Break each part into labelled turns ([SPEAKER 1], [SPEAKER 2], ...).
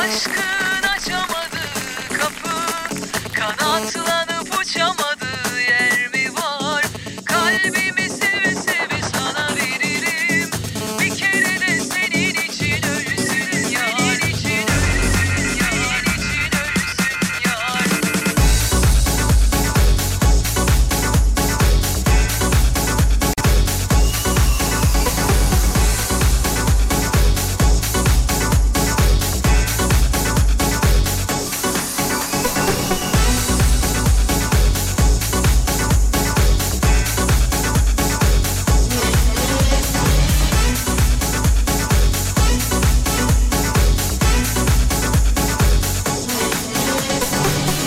[SPEAKER 1] Aşkın açamadı kapı Kanatlanıp uçamadı yer mi var Kalbimi seve seve sana veririm Bir kere de senin için ölsün yar Senin için ölsün yar Senin için ölsün yar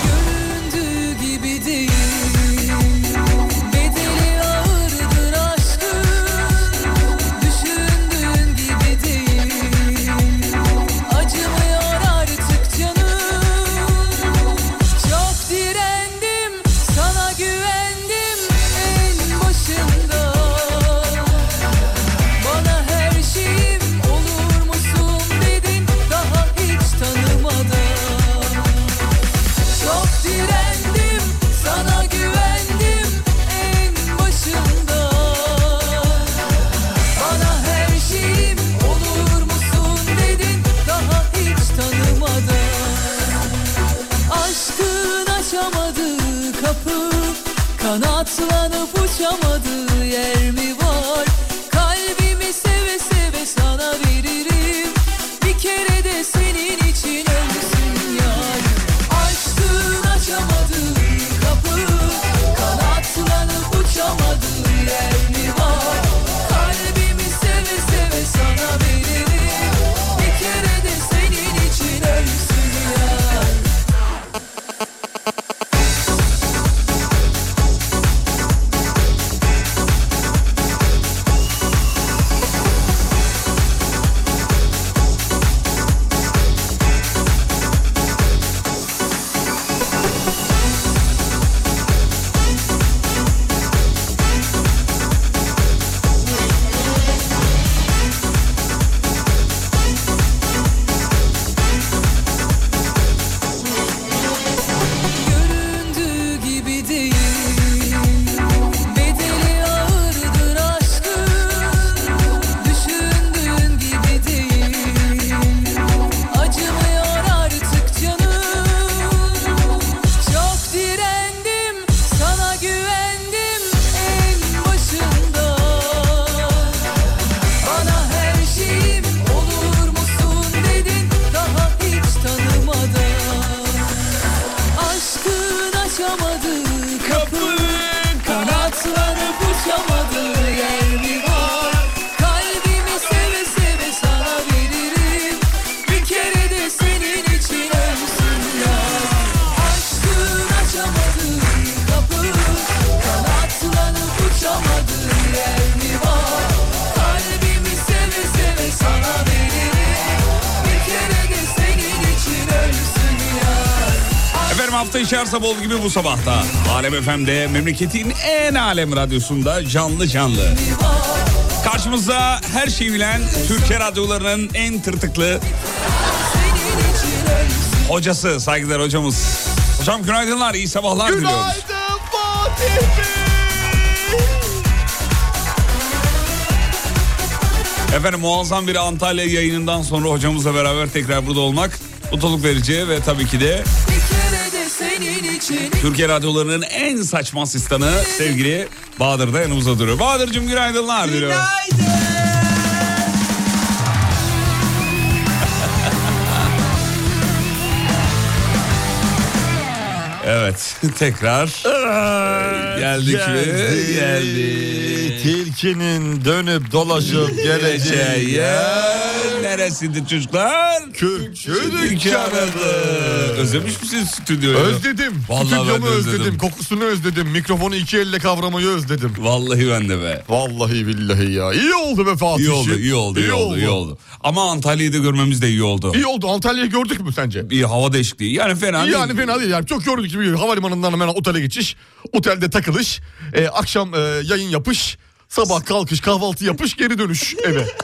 [SPEAKER 1] Göründüğü gibi değil Bedeli ağırdır aşkın Düşündüğün gibi değil Acımıyor artık canım Çok direndim sana güvendim en başında Bana her şeyim olur musun dedin daha hiç tanımadan çok direndim, sana güvendim en başında. Bana her şeyim olur musun dedin, daha hiç tanımadan. Aşkın açamadığı kapı Kanatlanıp uçamadığı yer mi var Kalbimi seve seve sana veririm Bir kere de senin için ölsün yar Aşkın açamadığı kapı Kanatlanıp uçamadığı yer mi var Kalbimi seve seve sana veririm Bir kere de senin için ölsün yar Göründüğü gibi değil Bedeli ağırdır aşkın Düşündüğün gibi değil Acımıyor artık canım Çok direndim sana güvendim en başında Bana her şeyim olur musun dedin daha hiç tanımadan Aşkın açamadığı kapı Kanatlanıp uçamadığı yer mi var Kalbimi seve seve sana veririm Bir kere de senin için ölsün ya Aşkın açamadığı kapı Kanatlanıp uçamadığı yer mi var Kalbimi seve seve sana veririm Bir kere de senin için ölsün ya
[SPEAKER 2] Efendim hafta içi arsa bol gibi bu sabahta. Alem FM'de memleketin en alem radyosunda canlı canlı. Karşımızda her şeyi bilen Türkiye radyolarının en tırtıklı hocası saygılar hocamız. Hocam günaydınlar iyi sabahlar diliyoruz.
[SPEAKER 3] Günaydın Fatih Bey.
[SPEAKER 2] Efendim muazzam bir Antalya yayınından sonra hocamızla beraber tekrar burada olmak mutluluk verici ve tabii ki de
[SPEAKER 1] Bir kere de senin için
[SPEAKER 2] Türkiye radyolarının en saçma asistanı sevgili Bahadır da yanımızda duruyor. Bahadır'cığım günaydınlar diliyorum. Evet tekrar Ee, geldik ve geldik.
[SPEAKER 3] Tilkinin dönüp dolaşıp geleceği
[SPEAKER 2] Geleceğe
[SPEAKER 3] yer
[SPEAKER 2] neresidir çocuklar?
[SPEAKER 4] Kürkçü
[SPEAKER 2] dükkanıdır. Özlemiş misiniz stüdyoyu?
[SPEAKER 4] Özledim.
[SPEAKER 2] Vallahi ben de
[SPEAKER 4] Stüdyomu özledim.
[SPEAKER 2] özledim.
[SPEAKER 4] Kokusunu özledim. Mikrofonu iki elle kavramayı özledim.
[SPEAKER 2] Vallahi ben de be.
[SPEAKER 4] Vallahi billahi ya. İyi oldu be Fatih.
[SPEAKER 2] İyi oldu, iyi oldu, iyi oldu, iyi oldu. Ama Antalya'yı da görmemiz de iyi oldu.
[SPEAKER 4] İyi oldu. Antalya'yı gördük mü sence?
[SPEAKER 2] Bir hava değişikliği. Yani fena değil.
[SPEAKER 4] Yani fena değil. Yani çok gördük gibi. Havalimanından hemen otele geçiş. Otelde takılış. e, akşam e, yayın yapış. Sabah kalkış, kahvaltı yapış, geri dönüş eve.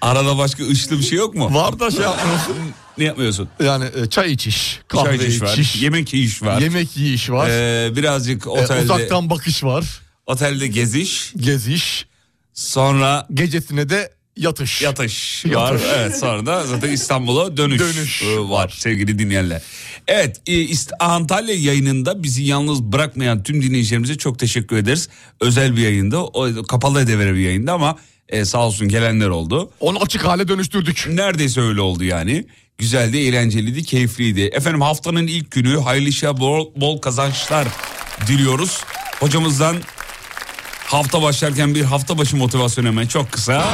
[SPEAKER 2] Arada başka ışlı bir şey yok mu?
[SPEAKER 4] Var da şey yapmıyorsun.
[SPEAKER 2] Ne yapmıyorsun?
[SPEAKER 4] Yani e, çay içiş, kahve
[SPEAKER 2] Çay iç iş var.
[SPEAKER 4] içiş,
[SPEAKER 2] Yemek iş var.
[SPEAKER 4] yemek yiyiş var.
[SPEAKER 2] Ee, birazcık
[SPEAKER 4] e,
[SPEAKER 2] otelde,
[SPEAKER 4] uzaktan bakış var.
[SPEAKER 2] otelde geziş.
[SPEAKER 4] Geziş.
[SPEAKER 2] Sonra
[SPEAKER 4] Gecesine de yatış.
[SPEAKER 2] yatış
[SPEAKER 4] Yatış.
[SPEAKER 2] var. Evet sonra da zaten İstanbul'a dönüş,
[SPEAKER 4] Dönüş
[SPEAKER 2] e, var, sevgili dinleyenler. Evet e, İst- Antalya yayınında bizi yalnız bırakmayan tüm dinleyicilerimize çok teşekkür ederiz. Özel bir yayında o, kapalı edevere bir yayında ama e, sağ olsun gelenler oldu.
[SPEAKER 4] Onu açık hale dönüştürdük.
[SPEAKER 2] Neredeyse öyle oldu yani. Güzeldi, eğlenceliydi, keyifliydi. Efendim haftanın ilk günü hayırlı işe bol, bol kazançlar diliyoruz. Hocamızdan hafta başlarken bir hafta başı motivasyon hemen çok kısa.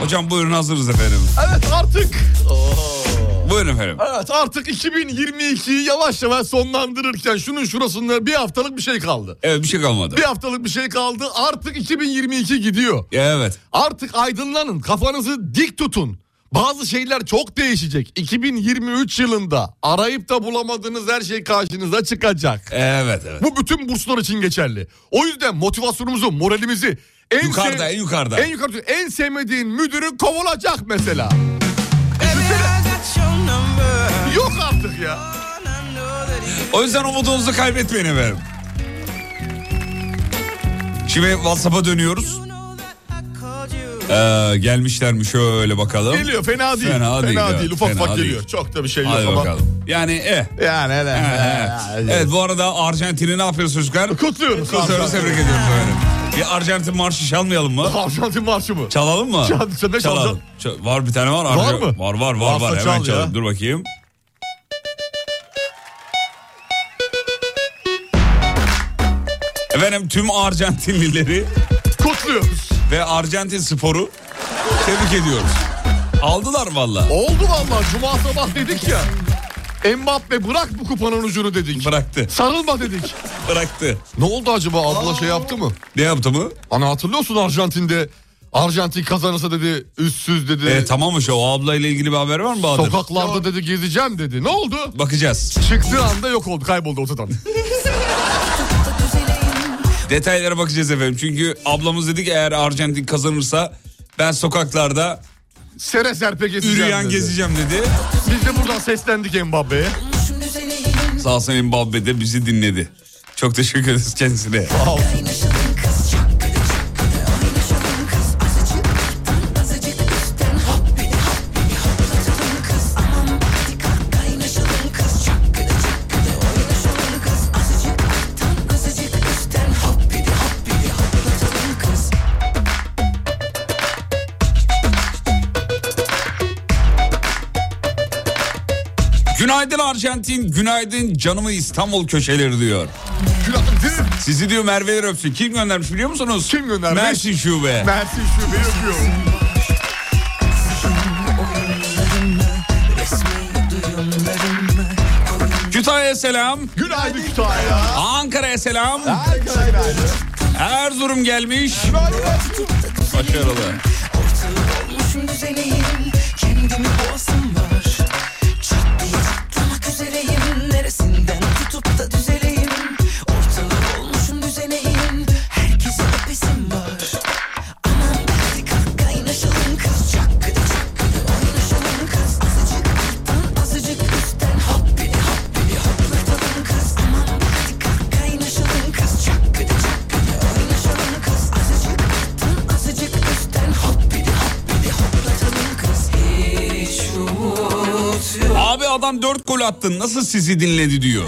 [SPEAKER 2] Hocam buyurun hazırız efendim.
[SPEAKER 4] Evet artık.
[SPEAKER 2] Buyurun efendim.
[SPEAKER 4] Evet artık 2022'yi yavaş yavaş sonlandırırken şunun şurasında bir haftalık bir şey kaldı.
[SPEAKER 2] Evet bir şey kalmadı.
[SPEAKER 4] Bir haftalık bir şey kaldı. Artık 2022 gidiyor.
[SPEAKER 2] Evet.
[SPEAKER 4] Artık aydınlanın. Kafanızı dik tutun. Bazı şeyler çok değişecek. 2023 yılında arayıp da bulamadığınız her şey karşınıza çıkacak.
[SPEAKER 2] Evet evet.
[SPEAKER 4] Bu bütün burslar için geçerli. O yüzden motivasyonumuzu, moralimizi en
[SPEAKER 2] Yukarıda,
[SPEAKER 4] sev-
[SPEAKER 2] en yukarıda.
[SPEAKER 4] En yukarıda en sevmediğin müdürü kovulacak mesela. Yok artık ya.
[SPEAKER 2] O yüzden umudunuzu kaybetmeyin efendim. Şimdi WhatsApp'a dönüyoruz. Ee, gelmişler mi şöyle bakalım.
[SPEAKER 4] Geliyor fena değil.
[SPEAKER 2] Fena
[SPEAKER 4] Fena,
[SPEAKER 2] değil,
[SPEAKER 4] değil,
[SPEAKER 2] evet.
[SPEAKER 4] ufak
[SPEAKER 2] Fena
[SPEAKER 4] ufak
[SPEAKER 2] değil.
[SPEAKER 4] geliyor. Çok da bir şey yok
[SPEAKER 2] Hadi
[SPEAKER 4] ama.
[SPEAKER 2] bakalım. Yani e.
[SPEAKER 4] Yani evet.
[SPEAKER 2] e, e. Evet bu arada Arjantin'i ne yapıyoruz çocuklar?
[SPEAKER 4] Kutluyoruz.
[SPEAKER 2] Kutluyoruz
[SPEAKER 4] Arjantin.
[SPEAKER 2] tebrik ediyoruz efendim. Bir Arjantin marşı çalmayalım mı?
[SPEAKER 4] Arjantin marşı mı?
[SPEAKER 2] Çalalım mı?
[SPEAKER 4] Çal- sen de
[SPEAKER 2] Çalalım. Ç- var bir tane var. Arjan-
[SPEAKER 4] mı?
[SPEAKER 2] Var var
[SPEAKER 4] Varsa
[SPEAKER 2] var. var. Hemen
[SPEAKER 4] çal ya.
[SPEAKER 2] çalalım. Dur bakayım. Efendim tüm Arjantinlileri
[SPEAKER 4] Kutluyoruz.
[SPEAKER 2] ve Arjantin sporu tebrik ediyoruz. Aldılar valla.
[SPEAKER 4] Oldu vallahi cuma sabah dedik ya. Mbappe bırak bu kupanın ucunu dedik.
[SPEAKER 2] Bıraktı.
[SPEAKER 4] Sarılma dedik.
[SPEAKER 2] Bıraktı.
[SPEAKER 4] ne oldu acaba abla şey yaptı mı?
[SPEAKER 2] Ne yaptı mı?
[SPEAKER 4] Ana hatırlıyorsun Arjantin'de Arjantin kazanırsa dedi üstsüz dedi.
[SPEAKER 2] E, tamammış o ablayla ilgili bir haber var mı Bahadır?
[SPEAKER 4] Sokaklarda dedi gezeceğim dedi. Ne oldu?
[SPEAKER 2] Bakacağız.
[SPEAKER 4] Çıktığı anda yok oldu kayboldu ortadan.
[SPEAKER 2] Detaylara bakacağız efendim. Çünkü ablamız dedi ki eğer Arjantin kazanırsa ben sokaklarda
[SPEAKER 4] Sere serpe gezeceğim
[SPEAKER 2] yürüyen
[SPEAKER 4] dedi.
[SPEAKER 2] gezeceğim dedi.
[SPEAKER 4] Biz de buradan seslendik Mbappe'ye.
[SPEAKER 2] Sağ olsun Mbappe de bizi dinledi. Çok teşekkür ederiz kendisine. Günaydın Arjantin, günaydın canımı İstanbul köşeleri diyor.
[SPEAKER 4] Günaydın dedim.
[SPEAKER 2] Sizi diyor Merve'ye öpsün. Kim göndermiş biliyor musunuz?
[SPEAKER 4] Kim göndermiş?
[SPEAKER 2] Mersin Şube.
[SPEAKER 4] Mersin şube yapıyor.
[SPEAKER 2] Kütahya'ya selam.
[SPEAKER 4] Günaydın Kütahya.
[SPEAKER 2] Ankara'ya selam. Erzurum gelmiş. Başarılı. Abi adam 4 gol attı nasıl sizi dinledi diyor.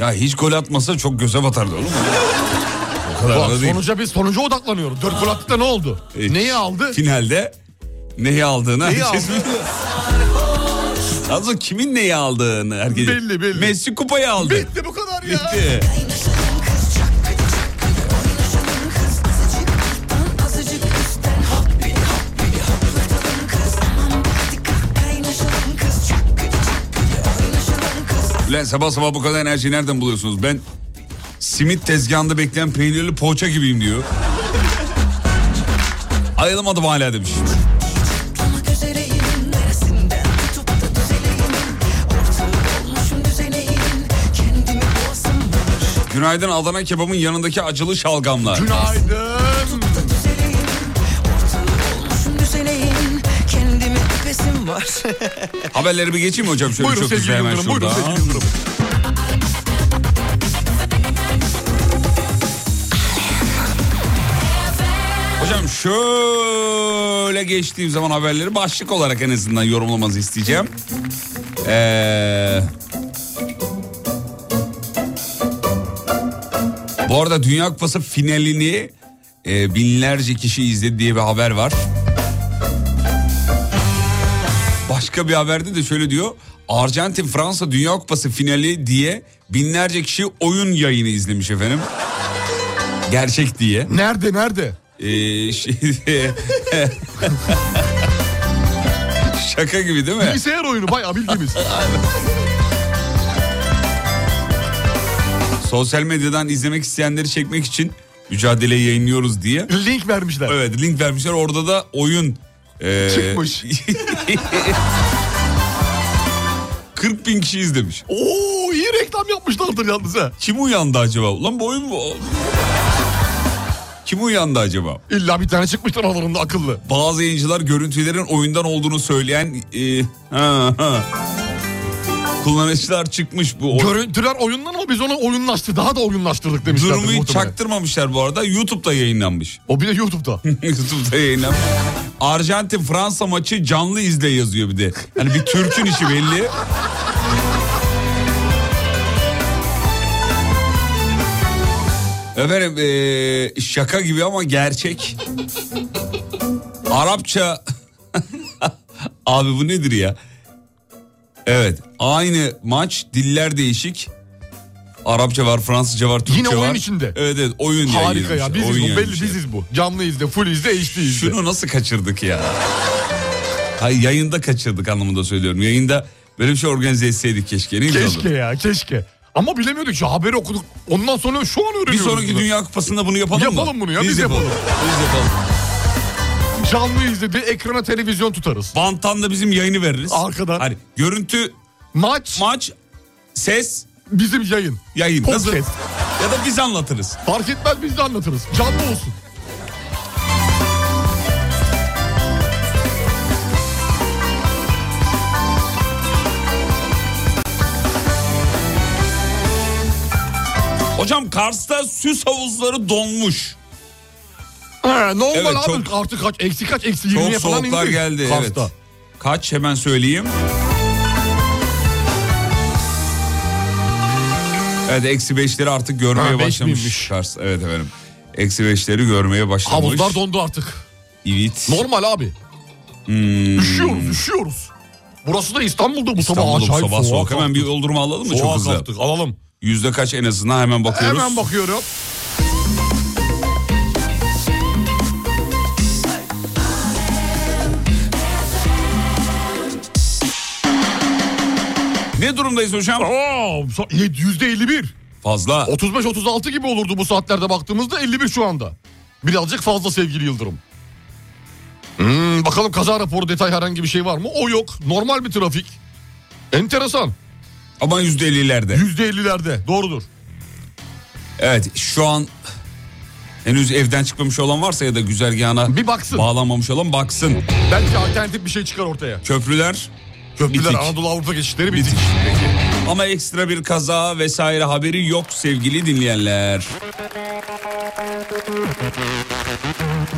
[SPEAKER 2] Ya hiç gol atmasa çok göze batardı oğlum. o kadar
[SPEAKER 4] Bak,
[SPEAKER 2] da değil.
[SPEAKER 4] sonuca biz sonuca odaklanıyoruz. Dört gol attık da ne oldu?
[SPEAKER 2] Hiç.
[SPEAKER 4] Neyi aldı?
[SPEAKER 2] Finalde neyi aldığını
[SPEAKER 4] Neyi
[SPEAKER 2] herkes
[SPEAKER 4] aldı?
[SPEAKER 2] biliyor. Aslında kimin neyi aldığını herkes
[SPEAKER 4] Belli, belli.
[SPEAKER 2] Messi kupayı aldı.
[SPEAKER 4] Bitti bu kadar ya.
[SPEAKER 2] Bitti. Ulan sabah sabah bu kadar enerjiyi nereden buluyorsunuz? Ben simit tezgahında bekleyen peynirli poğaça gibiyim diyor. Ayılamadım hala demiş.
[SPEAKER 1] Gözeleğinin neresinden tutup da düzeleyim Ortalık olmuşum düzeneyim Kendimi boğasım var
[SPEAKER 2] Günaydın Adana kebabın yanındaki acılı şalgamlar.
[SPEAKER 4] Günaydın.
[SPEAKER 1] da düzeleyim Ortalık olmuşum düzeneyim Kendimi öpesim var
[SPEAKER 2] Haberleri bir geçeyim mi hocam? Şöyle
[SPEAKER 4] Buyurun
[SPEAKER 2] çok hızlı
[SPEAKER 4] sevgili
[SPEAKER 2] hemen
[SPEAKER 4] Yıldırım. Buyurun
[SPEAKER 2] şurada.
[SPEAKER 4] sevgili Yıldırım.
[SPEAKER 2] Hocam şöyle geçtiğim zaman haberleri başlık olarak en azından yorumlamanızı isteyeceğim. Ee, bu arada Dünya Kupası finalini e, binlerce kişi izledi diye bir haber var. Başka bir haberde de şöyle diyor. Arjantin Fransa Dünya Kupası finali diye binlerce kişi oyun yayını izlemiş efendim. Gerçek diye.
[SPEAKER 4] Nerede nerede?
[SPEAKER 2] Ee, şey- Şaka gibi değil mi?
[SPEAKER 4] Bilgisayar oyunu bayağı bildiğimiz.
[SPEAKER 2] Sosyal medyadan izlemek isteyenleri çekmek için mücadeleyi yayınlıyoruz diye.
[SPEAKER 4] Link vermişler.
[SPEAKER 2] Evet link vermişler orada da oyun. ee,
[SPEAKER 4] Çıkmış.
[SPEAKER 2] 40 bin kişi izlemiş.
[SPEAKER 4] Oo iyi reklam yapmışlardır yalnız ha.
[SPEAKER 2] Kim uyandı acaba? Ulan bu oyun mu? Kim uyandı acaba?
[SPEAKER 4] İlla bir tane çıkmıştır aralarında akıllı.
[SPEAKER 2] Bazı yayıncılar görüntülerin oyundan olduğunu söyleyen e, ha, ha. kullanıcılar çıkmış bu. oyun.
[SPEAKER 4] Görüntüler oyundan ama biz onu oyunlaştı. Daha da oyunlaştırdık demişlerdir
[SPEAKER 2] Durumu hiç
[SPEAKER 4] muhtemelen.
[SPEAKER 2] çaktırmamışlar bu arada. YouTube'da yayınlanmış.
[SPEAKER 4] O bir de YouTube'da.
[SPEAKER 2] YouTube'da yayınlanmış. Arjantin Fransa maçı canlı izle yazıyor bir de. Hani bir Türk'ün işi belli. Efendim eee, şaka gibi ama gerçek. Arapça... Abi bu nedir ya? Evet aynı maç diller değişik. Arapça var, Fransızca var, Türkçe
[SPEAKER 4] Yine
[SPEAKER 2] var.
[SPEAKER 4] oyun içinde.
[SPEAKER 2] Evet evet oyun
[SPEAKER 4] Harika ya.
[SPEAKER 2] yayınlamışlar,
[SPEAKER 4] Biziz
[SPEAKER 2] oyun
[SPEAKER 4] bu. Belli
[SPEAKER 2] yayınlamışlar.
[SPEAKER 4] biziz bu. Canlı izle, full izle, HD izle.
[SPEAKER 2] Şunu nasıl kaçırdık ya? Hayır yayında kaçırdık anlamında söylüyorum. Yayında böyle bir şey organize etseydik keşke. Ne güzel
[SPEAKER 4] Keşke
[SPEAKER 2] olurdu.
[SPEAKER 4] ya keşke. Ama bilemiyorduk şu haberi okuduk. Ondan sonra şu an
[SPEAKER 2] Bir
[SPEAKER 4] öğreniyoruz.
[SPEAKER 2] sonraki
[SPEAKER 4] bunu.
[SPEAKER 2] Dünya Kupası'nda bunu yapalım, mı?
[SPEAKER 4] Yapalım bunu ya, biz yapalım.
[SPEAKER 2] Biz yapalım.
[SPEAKER 4] Canlı izle bir ekrana televizyon tutarız.
[SPEAKER 2] Banttan da bizim yayını veririz.
[SPEAKER 4] Arkadan.
[SPEAKER 2] Hani görüntü,
[SPEAKER 4] Maç
[SPEAKER 2] maç, ses,
[SPEAKER 4] bizim yayın.
[SPEAKER 2] yayın. Nasıl?
[SPEAKER 4] Podcast.
[SPEAKER 2] Ya da biz anlatırız.
[SPEAKER 4] Fark etmez biz de anlatırız. Canlı olsun.
[SPEAKER 2] Hocam Kars'ta süs havuzları donmuş.
[SPEAKER 4] He, normal
[SPEAKER 2] Evet,
[SPEAKER 4] abi
[SPEAKER 2] çok-
[SPEAKER 4] artık kaç eksi kaç eksi 20'ye
[SPEAKER 2] Çok
[SPEAKER 4] falan
[SPEAKER 2] soğuklar
[SPEAKER 4] indik.
[SPEAKER 2] geldi.
[SPEAKER 4] Kars'ta.
[SPEAKER 2] Evet. Kaç hemen söyleyeyim. Evet eksi beşleri artık görmeye
[SPEAKER 4] Ha, beş
[SPEAKER 2] başlamış.
[SPEAKER 4] miymiş?
[SPEAKER 2] Kars. Evet efendim. Eksi beşleri görmeye başlamış.
[SPEAKER 4] Havuzlar dondu artık.
[SPEAKER 2] Evet.
[SPEAKER 4] Normal abi. Üşüyoruz üşüyoruz. Burası da İstanbul'da bu sabah
[SPEAKER 2] Hmm, İstanbul'da bu
[SPEAKER 4] acayip
[SPEAKER 2] sabah soğuk. Hemen
[SPEAKER 4] kalktı.
[SPEAKER 2] bir doldurma alalım mı çok
[SPEAKER 4] Soğuğa
[SPEAKER 2] hızlı?
[SPEAKER 4] kalktık alalım.
[SPEAKER 2] Yüzde kaç en azından hemen bakıyoruz.
[SPEAKER 4] Hemen bakıyorum.
[SPEAKER 2] Ne durumdayız hocam?
[SPEAKER 4] Aa, %51.
[SPEAKER 2] Fazla.
[SPEAKER 4] 35-36 gibi olurdu bu saatlerde baktığımızda 51 şu anda. Birazcık fazla sevgili Yıldırım. Hmm, bakalım kaza raporu detay herhangi bir şey var mı? O yok. Normal bir trafik. Enteresan.
[SPEAKER 2] Ama yüzde ellilerde.
[SPEAKER 4] %50'lerde. Doğrudur.
[SPEAKER 2] Evet şu an henüz evden çıkmamış olan varsa ya da güzergahına
[SPEAKER 4] Bir baksın.
[SPEAKER 2] bağlanmamış olan baksın.
[SPEAKER 4] Belki alternatif bir şey çıkar ortaya.
[SPEAKER 2] Köprüler
[SPEAKER 4] Köprüler
[SPEAKER 2] Bitik.
[SPEAKER 4] Anadolu Avrupa geçişleri bitik.
[SPEAKER 2] Ama ekstra bir kaza vesaire haberi yok sevgili dinleyenler.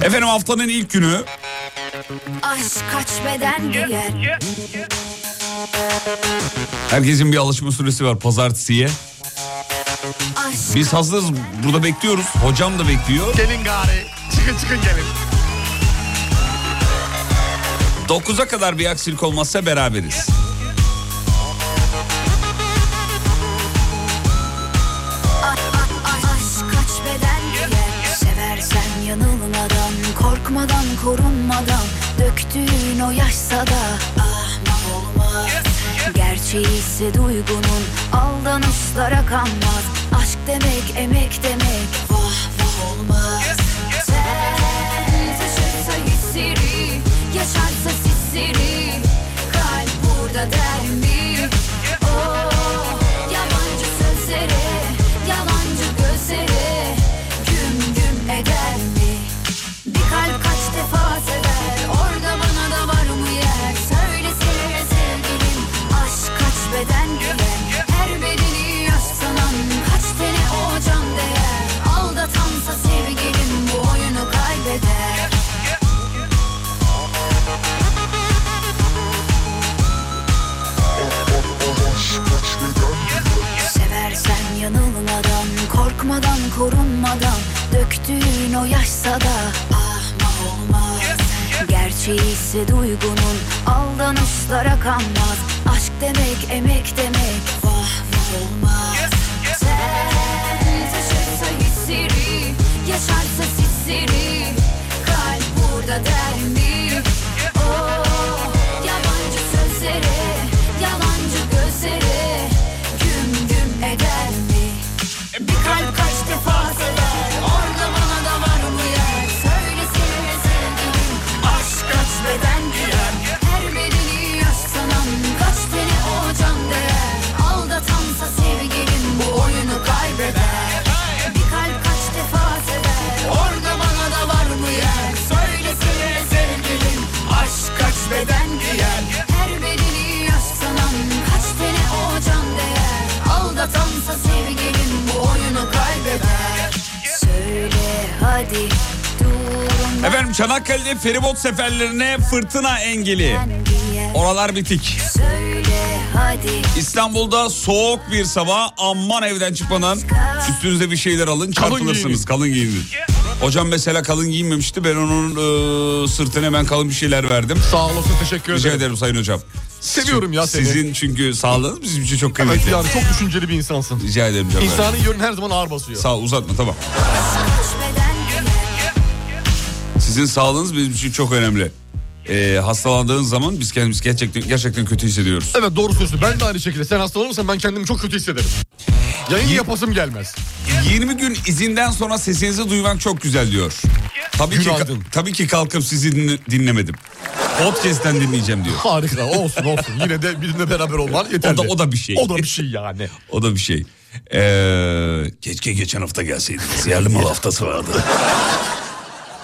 [SPEAKER 2] Efendim haftanın ilk günü
[SPEAKER 5] Aşk kaç beden diye
[SPEAKER 2] herkesin bir alışma süresi var pazartesiye.
[SPEAKER 5] Aşk
[SPEAKER 2] Biz hazırız burada bekliyoruz. Hocam da bekliyor.
[SPEAKER 4] Gelin gari. Çıkın çıkın gelin.
[SPEAKER 2] 9'a kadar bir aksilik olmazsa beraberiz.
[SPEAKER 5] aşk kaç beden diye Seversen yanılmadan korkmadan korunmadan Döktüğün o yaşsa da ah ne olmaz Gerçi çiğisi duygunun Aldanışlara kanmaz Aşk demek emek demek Vah vah olmaz Sen taşırsa hissiri Yaşarsa sisiri Kalp burada der mi? Oh, yabancı sözlere Yalancı gözlere Güm güm eder mi? Bir kalp kaç defa sever Orada bana da var mı yer Söylesene sevgilim Aşk kaç beden giyer Her bedeni yaş sanan Kaç tane o can değer Aldatansa sevgilim Bu oyunu kaybeder Seversen yanılmadan, korkmadan, korunmadan Döktüğün o yaşsa da ahma olmaz Gerçeği ise duygunun, aldanışlara kanmaz Aşk demek, emek demek, vah vah olmaz Sen taşırsa hissiri, yaşarsa sisiri Kalp burada der mi? Oh, yabancı sözlere, yalancı gözlere Güm güm eder mi? Bir kalp kaç defa sever Orada bana da var mı yer Söylesene sevgilim Aşk kaç beden güler Her bedeni yaş sanan Kaç tane o can değer Aldatansa sevgilim Bu oyunu kaybeder Bir kalp kaç defa sever Orada bana da var mı yer Söylesene sevgilim Aşk kaç beden güler Her bedeni yaş sanan Kaç tane o can değer Aldatansa sevgilim Bu oyunu kaybeder Söyle hadi durma
[SPEAKER 2] Efendim Çanakkale'de feribot seferlerine fırtına engeli.
[SPEAKER 5] diye
[SPEAKER 2] Oralar bitik.
[SPEAKER 5] Söyle hadi
[SPEAKER 2] İstanbul'da soğuk bir sabah aman evden çıkmadan üstünüze bir şeyler alın çarpılırsınız kalın giyinin. Hocam mesela kalın giyinmemişti ben onun e, sırtına hemen kalın bir şeyler verdim.
[SPEAKER 4] Sağ olasın teşekkür
[SPEAKER 2] Rica
[SPEAKER 4] ederim.
[SPEAKER 2] ederim sayın hocam.
[SPEAKER 4] Seviyorum ya seni.
[SPEAKER 2] Sizin çünkü sağlığınız bizim için çok
[SPEAKER 4] Evet
[SPEAKER 2] kıymetli.
[SPEAKER 4] yani çok düşünceli bir insansın.
[SPEAKER 2] Rica ederim canım.
[SPEAKER 4] İnsanın yönü her zaman ağır basıyor.
[SPEAKER 2] Sağ ol, uzatma tamam.
[SPEAKER 5] Kaçmeden güler
[SPEAKER 2] Sizin sağlığınız bizim için çok önemli. E, hastalandığın zaman biz kendimiz gerçekten gerçekten kötü hissediyoruz.
[SPEAKER 4] Evet doğru söylüyorsun. Ben de aynı şekilde. Sen hastalanırsan ben kendimi çok kötü hissederim. Yayın yapasım gelmez.
[SPEAKER 2] 20 gün izinden sonra sesinizi duymak çok güzel diyor. Tabii ki
[SPEAKER 4] Günaydın.
[SPEAKER 2] tabii ki kalkıp sizi dinle- dinlemedim. Podcast'ten dinleyeceğim diyor.
[SPEAKER 4] Harika olsun olsun. Yine de bizimle beraber olman yeterli.
[SPEAKER 2] O da- o da bir şey.
[SPEAKER 4] O da bir şey yani.
[SPEAKER 2] O da bir şey. Ee, keşke geçen hafta gelseydiniz. Yerli mal haftası vardı.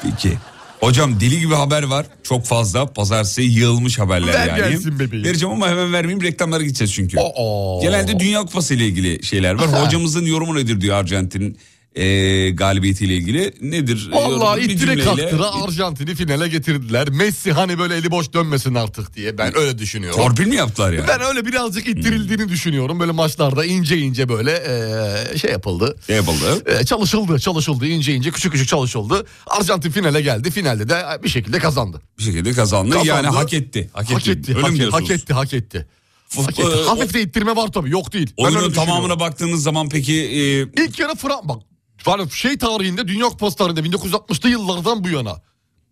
[SPEAKER 2] Peki. Hocam deli gibi haber var. Çok fazla. Pazartesi yığılmış haberler
[SPEAKER 4] Ver
[SPEAKER 2] yani.
[SPEAKER 4] gelsin bebeğim.
[SPEAKER 2] Vereceğim ama hemen vermeyeyim. Reklamlara gideceğiz çünkü.
[SPEAKER 4] Aa.
[SPEAKER 2] Genelde Dünya Kupası ile ilgili şeyler var.
[SPEAKER 4] Aha.
[SPEAKER 2] Hocamızın yorumu nedir diyor Arjantin e, galibiyetiyle ilgili. Nedir?
[SPEAKER 4] Vallahi
[SPEAKER 2] Yorumu bir
[SPEAKER 4] ittire
[SPEAKER 2] cümleyle-
[SPEAKER 4] kaktıra Arjantin'i finale getirdiler. Messi hani böyle eli boş dönmesin artık diye ben öyle düşünüyorum.
[SPEAKER 2] Torpil mi yaptılar yani?
[SPEAKER 4] Ben öyle birazcık ittirildiğini düşünüyorum. Böyle maçlarda ince ince böyle eee, şey yapıldı.
[SPEAKER 2] Ne yapıldı?
[SPEAKER 4] Eee, E, çalışıldı, çalışıldı ince ince küçük küçük çalışıldı. Arjantin finale geldi. Finalde de bir şekilde kazandı.
[SPEAKER 2] Bir şekilde kazandı.
[SPEAKER 4] Kazandı.
[SPEAKER 2] Yani hak etti. Hak,
[SPEAKER 4] Hak etti,
[SPEAKER 2] Öyle
[SPEAKER 4] hak, e-
[SPEAKER 2] mi
[SPEAKER 4] hak
[SPEAKER 2] diyorsunuz?
[SPEAKER 4] etti, hak etti.
[SPEAKER 2] Fut-
[SPEAKER 4] Hak etti.
[SPEAKER 2] e,
[SPEAKER 4] Hafif de ittirme var tabii. Yok değil. Ben öyle
[SPEAKER 2] Oyunun
[SPEAKER 4] düşünüyorum.
[SPEAKER 2] tamamına baktığınız zaman peki e,
[SPEAKER 4] İlk kere Fran bak. Var şey tarihinde Dünya Kupası tarihinde 1960'lı yıllardan bu yana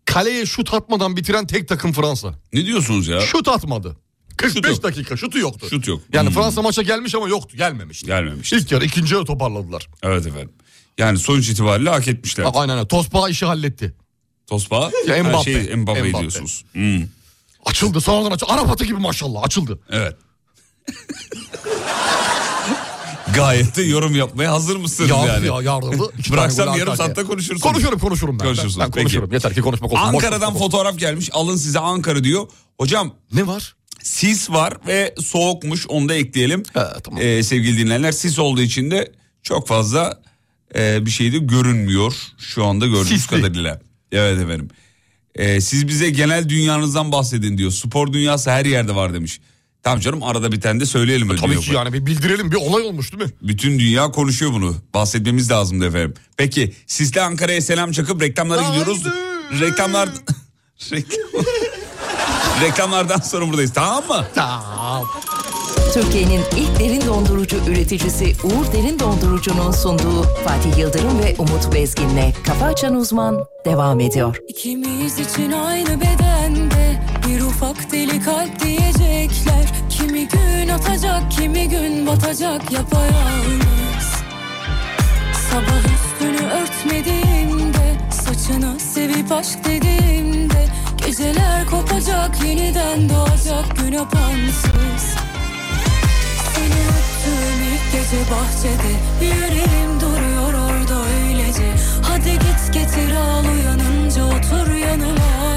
[SPEAKER 4] kaleye şut atmadan bitiren tek takım Fransa.
[SPEAKER 2] ne diyorsunuz ya?
[SPEAKER 4] Şut atmadı. 45
[SPEAKER 2] Şut yok.
[SPEAKER 4] dakika şutu yoktu.
[SPEAKER 2] Şut yok.
[SPEAKER 4] Yani
[SPEAKER 2] Hmm.
[SPEAKER 4] Fransa maça gelmiş ama yoktu. Gelmemişti.
[SPEAKER 2] Gelmemişti.
[SPEAKER 4] İlk yarı ikinci yarı toparladılar.
[SPEAKER 2] Evet efendim. Yani sonuç itibariyle hak etmişler.
[SPEAKER 4] Bak Aynen öyle. Tospa işi halletti.
[SPEAKER 2] Tospa
[SPEAKER 4] Ya
[SPEAKER 2] her
[SPEAKER 4] Mbappe.
[SPEAKER 2] şey Mbappe
[SPEAKER 4] Mbappe.
[SPEAKER 2] diyorsunuz. Hmm,
[SPEAKER 4] Açıldı sonradan açıldı. Arap atı gibi maşallah açıldı.
[SPEAKER 2] evet. Gayet de yorum yapmaya hazır mısınız
[SPEAKER 4] Yardı
[SPEAKER 2] yani?
[SPEAKER 4] ya yarıldı.
[SPEAKER 2] Bıraksam yarım saatte konuşursunuz.
[SPEAKER 4] Konuşurum konuşurum ben.
[SPEAKER 2] Konuşursunuz,
[SPEAKER 4] Ben, ben
[SPEAKER 2] peki.
[SPEAKER 4] konuşurum yeter ki konuşmak olsun. Boş
[SPEAKER 2] Ankara'dan
[SPEAKER 4] konuşmak olsun.
[SPEAKER 2] fotoğraf gelmiş. Alın size Ankara diyor. Hocam
[SPEAKER 4] Ne var?
[SPEAKER 2] sis var ve soğukmuş onu da ekleyelim.
[SPEAKER 4] Ha, tamam.
[SPEAKER 2] Ee, sevgili dinleyenler sis olduğu için de çok fazla e, bir şey de görünmüyor şu anda gördüğünüz
[SPEAKER 4] Sisli.
[SPEAKER 2] kadarıyla. Evet efendim. Ee, siz bize genel dünyanızdan bahsedin diyor. Spor dünyası her yerde var demiş. Tamam canım arada bir tane de söyleyelim. öyle
[SPEAKER 4] E, Tabii
[SPEAKER 2] diyor.
[SPEAKER 4] ki yani bir bildirelim bir olay olmuş değil mi?
[SPEAKER 2] Bütün dünya konuşuyor bunu. Bahsetmemiz lazımdı efendim. Peki sizle Ankara'ya selam çakıp reklamlara
[SPEAKER 4] Haydi.
[SPEAKER 2] gidiyoruz. Reklamlar... Reklam- Reklamlardan sonra buradayız tamam mı?
[SPEAKER 4] Tamam.
[SPEAKER 6] Türkiye'nin ilk derin dondurucu üreticisi Uğur Derin Dondurucu'nun sunduğu Fatih Yıldırım ve Umut Bezgin'le Kafa Açan Uzman devam ediyor.
[SPEAKER 7] İkimiz için aynı bedende bir ufak deli kalp diyecekler. Kimi gün atacak kalacak yapayalnız Sabah üstünü örtmediğimde Saçını sevip aşk dediğimde Geceler kopacak yeniden doğacak gün apansız Seni öptüğüm ilk gece bahçede Yüreğim duruyor orada öylece Hadi git getir al uyanınca otur yanıma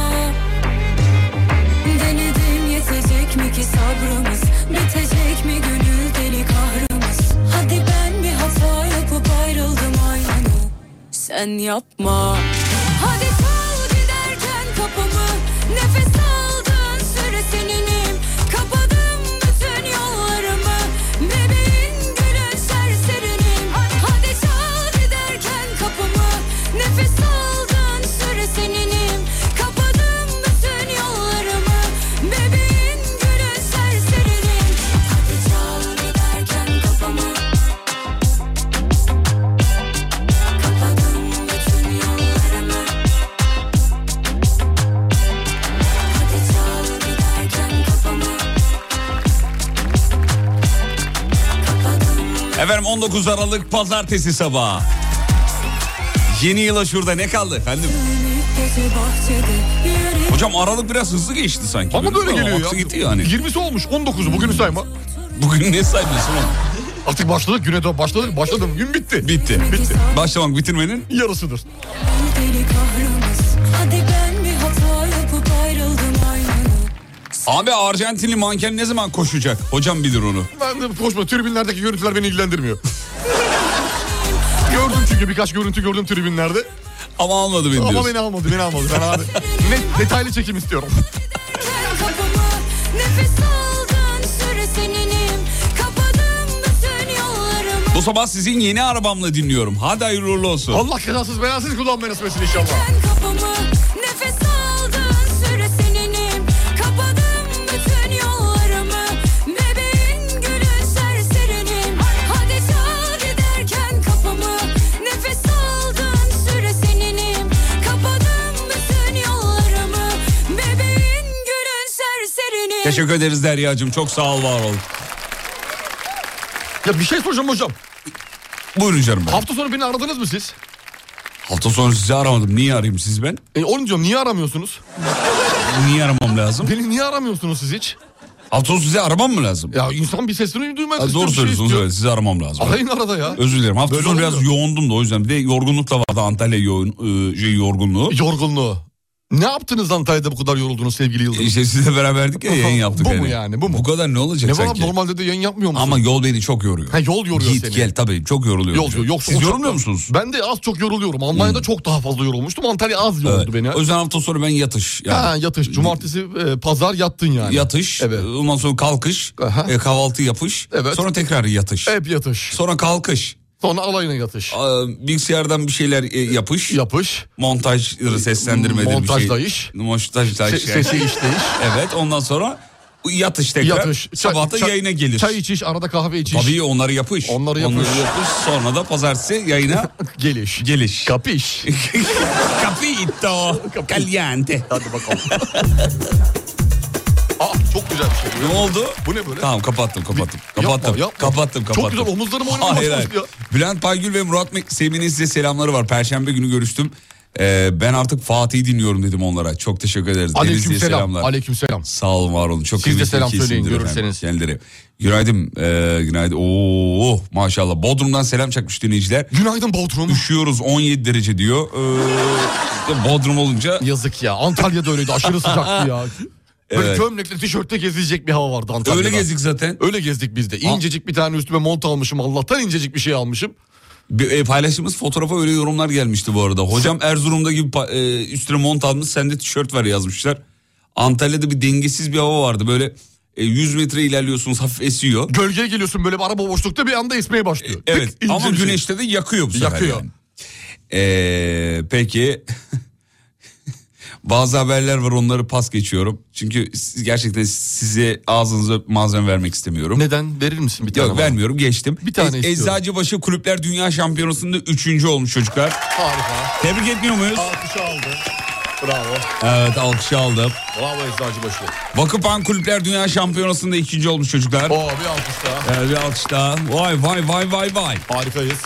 [SPEAKER 7] Denedim yetecek mi ki sabrımız Bitecek mi gönül deli kahrımız Hadi ben bir hata yapıp ayrıldım aynı Sen yapma Hadi çal giderken kapımı Nefes aldığın süre seninim Kapadım bütün yollarımı Bebeğin gülün serserinim Hadi çal giderken kapımı Nefes aldığın süre seninim Kapadım bütün yollarımı Bebeğin gülün serserinim Hadi çal giderken kapımı Kapadım bütün yollarımı Hadi çal giderken kapımı
[SPEAKER 2] Efendim 19 Aralık pazartesi sabahı. Yeni yıla şurada ne kaldı efendim?
[SPEAKER 7] İlk gece bahçede yürü
[SPEAKER 2] Hocam Aralık biraz hızlı geçti sanki.
[SPEAKER 4] Ama böyle geliyor ya.
[SPEAKER 2] Aksı gitti yani.
[SPEAKER 4] 20'si olmuş 19'u bugünü sayma.
[SPEAKER 2] hani. Bugün ne saymışsın oğlum?
[SPEAKER 4] Artık başladık güne doğru başladık başladım gün bitti.
[SPEAKER 2] Bitti.
[SPEAKER 4] Bitti.
[SPEAKER 2] Başlamak bitirmenin
[SPEAKER 4] Yarısıdır.
[SPEAKER 7] deli kahrımız Hadi ben bir hata yapıp ayrıldım aynı
[SPEAKER 2] Abi Arjantinli manken ne zaman koşacak? Hocam bilir onu.
[SPEAKER 4] Ben de koşma tribünlerdeki görüntüler beni ilgilendirmiyor. gördüm çünkü birkaç görüntü gördüm tribünlerde.
[SPEAKER 2] Ama almadı beni
[SPEAKER 4] Ama
[SPEAKER 2] diyorsun.
[SPEAKER 4] beni almadı beni almadı. Ben abi net detaylı çekim istiyorum.
[SPEAKER 7] Ben kapımı nefes aldığın süre seninim Kapadım bütün yollarımı
[SPEAKER 2] Bu sabah sizin yeni arabamla dinliyorum. Hadi hayırlı uğurlu olsun.
[SPEAKER 4] Allah kazasız belasız kullanmayı nasip etsin inşallah.
[SPEAKER 7] Ben kapımı nefes aldığın süre seninim Kapadım bütün yollarımı Bebeğin gülün serserinim Hadi çal giderken kapımı Nefes aldığın süre seninim Kapadım bütün yollarımı Bebeğin gülün serserinim
[SPEAKER 2] Teşekkür ederiz Derya'cığım. Çok sağ ol, var ol.
[SPEAKER 4] Ya bir şey soracağım hocam.
[SPEAKER 2] Buyurun canım. benim.
[SPEAKER 4] Hafta sonu beni aradınız mı siz?
[SPEAKER 2] Hafta sonu sizi aramadım. Niye arayayım siz ben?
[SPEAKER 4] E, onu diyorum niye aramıyorsunuz?
[SPEAKER 2] Niye aramam lazım?
[SPEAKER 4] Beni niye aramıyorsunuz siz hiç?
[SPEAKER 2] Hafta sonu sizi aramam mı lazım?
[SPEAKER 4] Ya insan bir sesini duymak
[SPEAKER 2] Ha,
[SPEAKER 4] istiyor.
[SPEAKER 2] doğru
[SPEAKER 4] bir şey
[SPEAKER 2] söylüyorsunuz.
[SPEAKER 4] istiyor.
[SPEAKER 2] evet, sizi aramam lazım.
[SPEAKER 4] Arayın arada ya.
[SPEAKER 2] Özür dilerim. Hafta
[SPEAKER 4] Böyle
[SPEAKER 2] sonu biraz
[SPEAKER 4] olmuyor.
[SPEAKER 2] yoğundum da o yüzden. Bir de yorgunluk da vardı Antalya yoğun, e, şey, yorgunluğu.
[SPEAKER 4] Yorgunluğu. Ne yaptınız Antalya'da bu kadar yoruldunuz sevgili Yıldırım?
[SPEAKER 2] İşte E, sizle beraberdik ya yayın yaptık.
[SPEAKER 4] Bu mu yani, bu mu?
[SPEAKER 2] Bu kadar ne olacak
[SPEAKER 4] ne var abi,
[SPEAKER 2] sanki?
[SPEAKER 4] normalde de yayın yapmıyor musun?
[SPEAKER 2] Ama yol beni çok yoruyor.
[SPEAKER 4] Ha, yol yoruyor
[SPEAKER 2] Git
[SPEAKER 4] seni.
[SPEAKER 2] gel tabii çok yoruluyor.
[SPEAKER 4] Yol yoruyor. Yoksa
[SPEAKER 2] Siz
[SPEAKER 4] uçakta-
[SPEAKER 2] yorulmuyor musunuz? Hmm.
[SPEAKER 4] Ben de az çok yoruluyorum. Almanya'da çok daha fazla yorulmuştum. Antalya az yoruldu
[SPEAKER 2] Evet.
[SPEAKER 4] beni.
[SPEAKER 2] O yüzden hafta sonu ben yatış. Yani.
[SPEAKER 4] Ha, yatış. Cumartesi, e, pazar yattın yani.
[SPEAKER 2] Yatış,
[SPEAKER 4] Evet.
[SPEAKER 2] ondan sonra kalkış,
[SPEAKER 4] Aha.
[SPEAKER 2] e, kahvaltı yapış,
[SPEAKER 4] Evet.
[SPEAKER 2] sonra tekrar yatış.
[SPEAKER 4] Hep yatış.
[SPEAKER 2] Sonra kalkış,
[SPEAKER 4] Sonra alayına yatış.
[SPEAKER 2] e, bilgisayardan bir şeyler e, yapış,
[SPEAKER 4] Yapış.
[SPEAKER 2] montaj seslendirmedi bir şey.
[SPEAKER 4] Montajla iş.
[SPEAKER 2] Montajla
[SPEAKER 4] Se-
[SPEAKER 2] iş. yani.
[SPEAKER 4] sesi işleyiş.
[SPEAKER 2] Evet ondan sonra yatış tekrar,
[SPEAKER 4] Yatış. Çay-
[SPEAKER 2] sabah da
[SPEAKER 4] çay-
[SPEAKER 2] yayına gelir.
[SPEAKER 4] Çay içiş, arada kahve içiş.
[SPEAKER 2] Tabii onları yapış.
[SPEAKER 4] Onları yapış.
[SPEAKER 2] Sonra da pazartesi yayına
[SPEAKER 4] Geliş.
[SPEAKER 2] geliş.
[SPEAKER 4] Kapiş.
[SPEAKER 2] Capito. Caliente.
[SPEAKER 4] Hadi bakalım. Aa çok güzel bir şey.
[SPEAKER 2] Ne oldu?
[SPEAKER 4] Bu ne böyle?
[SPEAKER 2] Tamam kapattım kapattım. kapattım.
[SPEAKER 4] yapma.
[SPEAKER 2] Kapattım
[SPEAKER 4] Çok
[SPEAKER 2] kapattım.
[SPEAKER 4] güzel, omuzlarım oynamaya
[SPEAKER 2] Hayır,
[SPEAKER 4] başladı
[SPEAKER 2] hayır. Bülent Baygül ve Murat Mek- Sevin'in size selamları var. Perşembe günü görüştüm. Ee, ben artık Fatih'i dinliyorum dedim onlara. Çok teşekkür ederiz.
[SPEAKER 4] Aleyküm
[SPEAKER 2] Denizli'ye
[SPEAKER 4] selam.
[SPEAKER 2] selamlar.
[SPEAKER 4] Aleyküm selam.
[SPEAKER 2] Sağ olun var olun. Çok
[SPEAKER 4] Siz de
[SPEAKER 2] kıymetli
[SPEAKER 4] selam
[SPEAKER 2] iki isimdir
[SPEAKER 4] söyleyin,
[SPEAKER 2] efendim
[SPEAKER 4] görürseniz.
[SPEAKER 2] Kendileri. Günaydın. ee, günaydın. Oo maşallah. Bodrum'dan selam çakmış dinleyiciler.
[SPEAKER 4] Günaydın Bodrum.
[SPEAKER 2] Üşüyoruz 17 derece diyor. Ee, Bodrum olunca
[SPEAKER 4] Yazık ya. Antalya'da öyleydi. Aşırı sıcaktı ya. Böyle
[SPEAKER 2] Evet.
[SPEAKER 4] gömlekle tişörtle gezilecek bir hava vardı Antalya'da.
[SPEAKER 2] öyle gezdik zaten.
[SPEAKER 4] Öyle gezdik biz de. İncecik bir tane üstüme mont almışım. Allah'tan incecik bir şey almışım.
[SPEAKER 2] Bir, e, paylaştığımız fotoğrafa öyle yorumlar gelmişti bu arada. Hocam Erzurum'da gibi pa- e, üstüne mont almış sende tişört var yazmışlar. Antalya'da bir dengesiz bir hava vardı böyle e, 100 metre ilerliyorsunuz hafif esiyor.
[SPEAKER 4] Gölgeye geliyorsun böyle bir araba boşlukta bir anda esmeye başlıyor.
[SPEAKER 2] Evet
[SPEAKER 4] Tık, ince
[SPEAKER 2] ama
[SPEAKER 4] bir şey.
[SPEAKER 2] güneşte de yakıyor bu sefer.
[SPEAKER 4] Yakıyor.
[SPEAKER 2] yani. E, peki bazı haberler var onları pas geçiyorum. Çünkü siz- gerçekten size ağzınıza malzeme vermek istemiyorum.
[SPEAKER 4] Neden? Verir misin bir tane?
[SPEAKER 2] Yok
[SPEAKER 4] bana?
[SPEAKER 2] vermiyorum geçtim. E,
[SPEAKER 4] Bir tane istiyorum.
[SPEAKER 2] Eczacıbaşı Kulüpler Dünya Şampiyonası'nda üçüncü olmuş çocuklar.
[SPEAKER 4] Harika.
[SPEAKER 2] Tebrik etmiyor muyuz?
[SPEAKER 4] Alkış aldı. Bravo.
[SPEAKER 2] Evet alkışı aldım.
[SPEAKER 4] Bravo Eczacıbaşı.
[SPEAKER 2] Vakıfbank Kulüpler Dünya Şampiyonası'nda ikinci olmuş çocuklar.
[SPEAKER 4] Oo bir alkış daha.
[SPEAKER 2] Evet Ee, bir alkış daha. Vay vay vay vay vay.
[SPEAKER 4] Harikayız.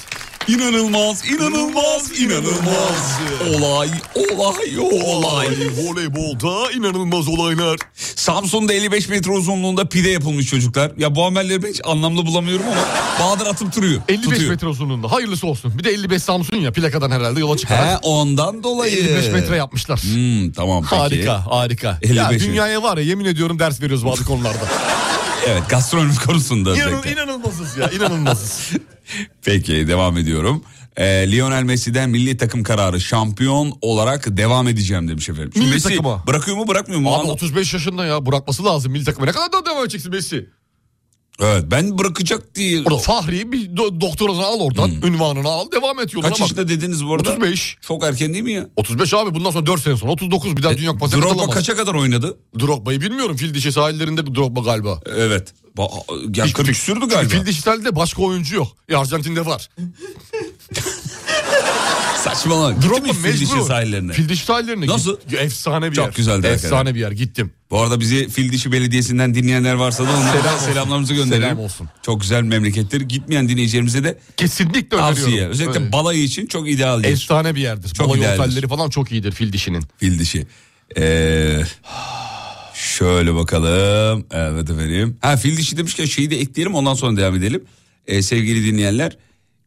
[SPEAKER 2] İnanılmaz, inanılmaz, inanılmaz. Olay, olay, olay.
[SPEAKER 4] Voleybolda inanılmaz olaylar.
[SPEAKER 2] Samsun'da 55 metre uzunluğunda pide yapılmış çocuklar. Ya bu amelleri ben hiç anlamlı bulamıyorum ama Bahadır atıp duruyor.
[SPEAKER 4] 55
[SPEAKER 2] tutuyor.
[SPEAKER 4] metre uzunluğunda. Hayırlısı olsun. Bir de 55 Samsun ya plakadan herhalde yola
[SPEAKER 2] He
[SPEAKER 4] çıkarak.
[SPEAKER 2] ondan dolayı.
[SPEAKER 4] 55 metre yapmışlar.
[SPEAKER 2] Hmm, tamam peki.
[SPEAKER 4] Harika, harika.
[SPEAKER 2] 55
[SPEAKER 4] Ya
[SPEAKER 2] metre.
[SPEAKER 4] dünyaya var ya yemin ediyorum ders veriyoruz bazı konularda.
[SPEAKER 2] Evet gastronomi konusunda
[SPEAKER 4] İnan,
[SPEAKER 2] özellikle.
[SPEAKER 4] inanılmazız ya, inanılmazız.
[SPEAKER 2] Peki devam ediyorum. Ee, Lionel Messi'den milli takım kararı şampiyon olarak devam edeceğim demiş efendim. Şimdi
[SPEAKER 4] Milli
[SPEAKER 2] Messi
[SPEAKER 4] takıma.
[SPEAKER 2] bırakıyor mu bırakmıyor mu?
[SPEAKER 4] Abi
[SPEAKER 2] Anla-
[SPEAKER 4] 35 yaşında ya bırakması lazım milli takıma. Ne kadar daha devam edeceksin Messi?
[SPEAKER 2] Evet ben bırakacak diye.
[SPEAKER 4] Orada Fahri'yi bir do- doktorunu al oradan, ünvanını al, devam et yoluna
[SPEAKER 2] Kaç
[SPEAKER 4] bak.
[SPEAKER 2] yaşında dediniz bu arada?
[SPEAKER 4] 35.
[SPEAKER 2] Çok erken değil mi ya? E,
[SPEAKER 4] 35 abi bundan sonra 4 sene sonra 39 bir daha Dünya Kupası
[SPEAKER 2] Drogba
[SPEAKER 4] katılamaz.
[SPEAKER 2] kaça kadar oynadı?
[SPEAKER 4] Drogba'yı bilmiyorum. Fil dişi sahillerinde bir Drogba galiba.
[SPEAKER 2] Evet. Ba- ya 40 küsürdü galiba.
[SPEAKER 4] Fil dişi sahilde başka oyuncu yok. E, Arjantin'de var.
[SPEAKER 2] Saçmalama. Gitti mi
[SPEAKER 4] Drogba
[SPEAKER 2] Fil dişi
[SPEAKER 4] mecbur.
[SPEAKER 2] sahillerine?
[SPEAKER 4] Fil dişi sahillerine.
[SPEAKER 2] Nasıl?
[SPEAKER 4] Git- Efsane bir
[SPEAKER 2] Çok
[SPEAKER 4] yer.
[SPEAKER 2] güzeldi
[SPEAKER 4] Efsane
[SPEAKER 2] hakikaten.
[SPEAKER 4] bir yer. Gittim.
[SPEAKER 2] Bu arada bizi Fil dişi Belediyesi'nden dinleyenler varsa da onlara
[SPEAKER 4] Selam olsun.
[SPEAKER 2] selamlarımızı gönderelim.
[SPEAKER 4] Selam olsun.
[SPEAKER 2] Çok güzel bir memlekettir. Gitmeyen dinleyicilerimize de
[SPEAKER 4] Kesinlikle öneriyorum.
[SPEAKER 2] tavsiye. Özellikle
[SPEAKER 4] Evet.
[SPEAKER 2] balayı için çok ideal değil.
[SPEAKER 4] Efsane bir yerdir.
[SPEAKER 2] Çok
[SPEAKER 4] Balayı
[SPEAKER 2] idealdir.
[SPEAKER 4] otelleri falan çok iyidir fil dişinin.
[SPEAKER 2] Fil dişi. Ee, şöyle bakalım. Evet efendim. Ha fil dişi demişken şeyi de ekleyelim ondan sonra devam edelim. Ee, sevgili dinleyenler